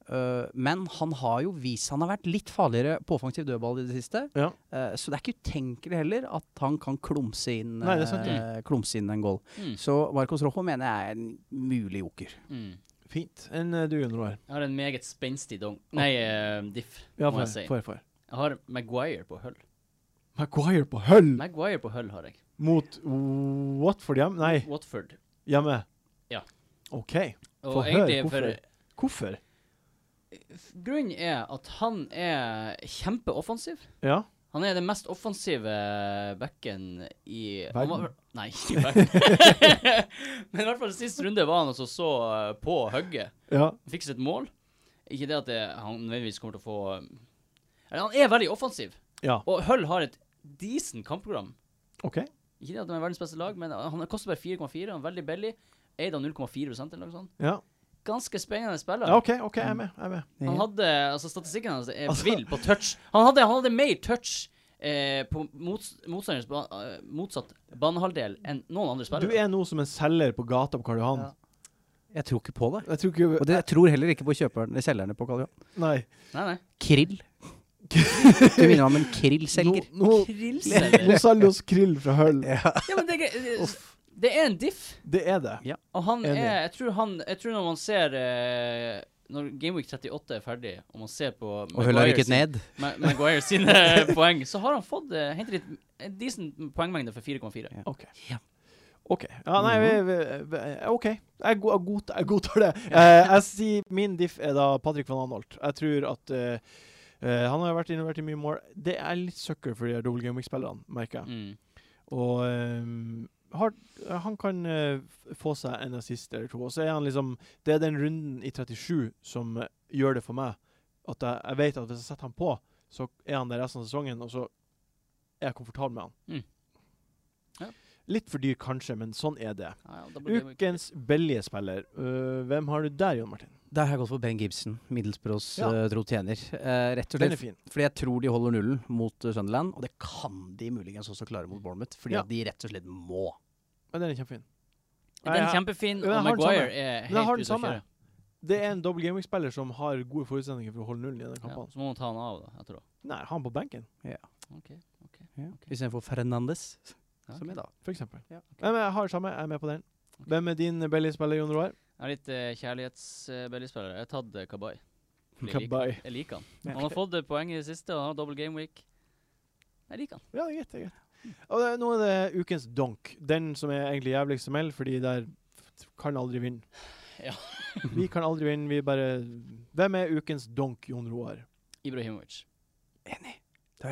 Eh, men han har jo vist han har vært litt farligere på offensiv dødball i det siste. Ja. Eh, så det er ikke utenkelig heller at han kan klumse inn, Nei, det er sant, eh, klumse inn en goal. Mm. Så Marcos Rojo mener jeg er en mulig joker. Mm. Fint. Enn eh, du, Jon Roar. Jeg har en meget spenstig dong... Nei, eh, diff, Ja, må jeg for, si. for, for. Jeg har Maguire på hull. Maguire på høll Maguire på hull har jeg. mot Watford hjemme? Nei, Watford. hjemme. Ja. OK. Og Få høre egentlig hvorfor. for- Hvorfor? Grunnen er at han er kjempeoffensiv. Ja. Han er den mest offensive backen i han Verden. var- Nei, ikke backen. Men i hvert fall sist runde var han altså så eh, på hugget. ja. Han Fikk sitt mål. Ikke det at det, han nødvendigvis kommer til å få eh, Eller han er veldig offensiv. Ja. Og Hull har et decent kampprogram. OK. Ikke det at de er verdens beste lag, men han koster bare 4,4. Han er veldig billig. Eid av 0,4 eller noe sånt. Ja, Ganske spennende spiller. ja OK, ok, jeg er med. Jeg er med. Han hadde, altså Statistikken hans er Altså- vill på touch. Han hadde, han hadde mer touch eh, på mots, motstanderens ba, eh, motsatt banehalvdel enn noen andre Du spillere. er nå som en selger på gata på Karl Johan. Ja. Jeg tror ikke på det. Jeg tror ikke Og det, jeg tror heller ikke på kjøperen, selgerne på Karl Johan. Nei. Nei, nei. Krill. Du minner meg om en krillselger. Nå, nå, Krillselger? nå selger oss krill fra Hull. Ja, men det er greit. Det- Det er en diff. Det er det. Og han Enig. er Jeg tror han Jeg tror når man ser eh, Når Gameweek 38 er ferdig, og man ser på Og hullet har Maguire rykket sin- ned. Ma- Maguire sine poeng, så har han fått eh, hentet litt en decent poengmengde for 4,4. OK. Ja. OK. Ja, nei, vi, vi, vi, ok. Jeg, go jeg, godtar, jeg godtar det. Eh, jeg sier min diff er da Patrick van Anholt. Jeg tror at eh, eh, Han har jo vært involvert i mye mål. Det er litt sucker for de her double gaming-spillerne, merker jeg. Mm. Og eh, har, han kan eh, f- få seg en assist eller to. Og så er han liksom Det er den runden i 37 som eh, gjør det for meg. At jeg, jeg vet at hvis jeg setter han på, så er han der resten av sesongen, og så er jeg komfortabel med han. Mm. Ja. Litt for dyr kanskje, men sånn er det. Ja, ja, da blir det- Ukens billige spiller. Øh, hvem har du der, Jon Martin? Der har jeg gått for Ben Gibson, Middelsbros Ja. eh, tro tjener. Eh, rett og Den er slett fin. fordi jeg tror de holder nullen mot eh, Sunderland, og det kan de muligens også klare mot Bournemouth, fordi Ja. at de rett og slett må. Ja, den er kjempefin. Den er kjempefin, Ja, jeg har den og samme. Maguire er jeg har helt den ute å samme. kjøre. Det er en double gaming-spiller som har gode forutsetninger for å holde nullen i denne Ja, kampen. så må man ta han av, da, etterpå. Nei, han på benken, Istedenfor Fernandes, Ja, som ok. jeg da for eksempel. Ja, ok. Nei, men jeg har det samme. Jeg er med på den. Hvem er din billige spiller, Jon Roar? Jeg har litt uh, kjærlighetsbellyspillere. Jeg har tatt eh, Kabay. Fordi jeg liker- Kabay. Jeg liker han. Han har fått eh, poeng i det siste, og han har double game week. Jeg liker han. Ja, det er greit. det er greit. Og det, nå er det ukens donk. Den som er egentlig jævligst som helst, fordi der f- kan aldri vinne. Ja. vi kan aldri vinne, vi bare Hvem er ukens donk, Jon Roar? Ibrahimovic. Det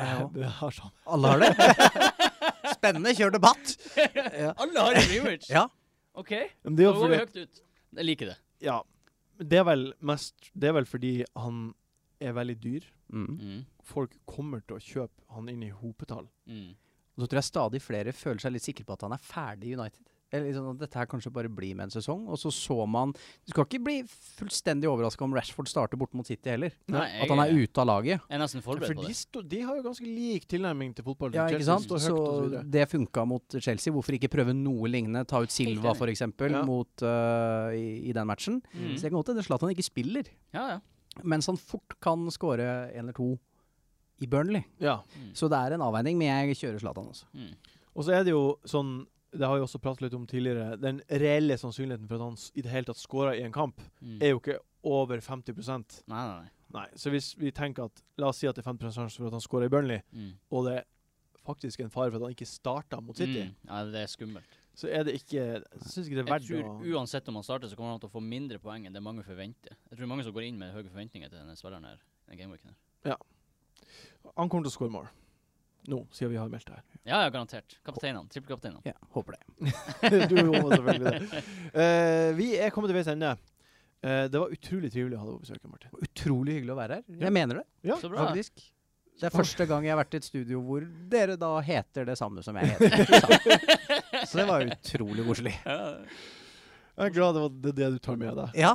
har jeg òg. Jeg har sånn. Alle har det. Spennende, kjør debatt! Ja. Alle har Ibrahimovic! Ja. OK, Men det er jo da går vi fordi høyt ut. Jeg liker det. Ja. Det er vel mest Det er vel fordi han er veldig dyr. Mm. Mm. Folk kommer til å kjøpe han inn i hopetall. Mm. Og så tror jeg stadig flere føler seg litt sikre på at han er ferdig i United. Eller liksom at dette her kanskje bare blir med en sesong. Og så så man Du skal ikke bli fullstendig overraska om Rashford starter borte mot City heller. Nei, At han er jeg, ute av jeg laget. er nesten For forberedt på de, det. sto, de har jo ganske lik tilnærming til fotball. Ja, ikke Chelsea sant? står høyt og så Så videre. det funka mot Chelsea. Hvorfor ikke prøve noe lignende? Ta ut Silva, enig. f.eks., Ja. mot øh, i, i den matchen. Mm. Så det kan godt hende Zlatan ikke spiller, Ja, ja. mens han fort kan skåre én eller to i Burnley. ja. Mm. Så det er en avveining, men jeg kjører Zlatan også. Mm. Og så er det jo sånn Det har vi også pratet litt om tidligere. Den reelle sannsynligheten for at han s- i det hele tatt scorer i en kamp, Mm. er jo ikke over 50 Nei, nei, nei. Nei. Så hvis vi tenker at La oss si at det er 50 sjanse for at han scorer i Burnley, Mm. og det er faktisk en fare for at han ikke starta mot City, Mm. Ja, det er skummelt. så er det ikke Jeg syns ikke det er Jeg verdt tror å uansett om han starter, så kommer han til å få mindre poeng enn det mange forventer. Jeg tror det er mange som går inn med høye forventninger til denne spilleren her. Denne gameweeken her. Han kommer til å score mål. Nå, siden vi har meldt det her. Ja, ja, garantert. Kapteinene. Trippelkapteinene. Ja, håper det. du håper selvfølgelig det. Eh, vi er kommet til veis ende. Eh, det var utrolig trivelig å ha deg på besøk, Martin. Utrolig hyggelig å være her. Ja. Jeg mener det, Ja, Så bra. faktisk. Det er første gang jeg har vært i et studio hvor dere da heter det samme som jeg heter. Så det var utrolig koselig. Jeg er glad det var det, det du tar med deg. Ja.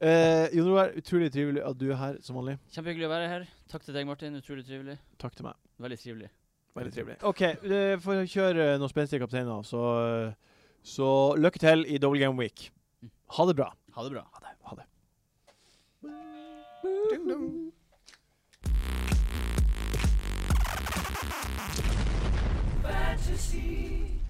Eh, Jon Roar, utrolig trivelig at du er her som vanlig. Kjempehyggelig å være her. Takk til deg, Martin. Utrolig trivelig. Takk til meg. Veldig trivelig. Veldig trivelig. OK, eh, for å kjøre eh, noen spenstige kapteiner, så, eh, så lykke til i double game week. Ha det bra. Ha det bra. Ha det. fantasy.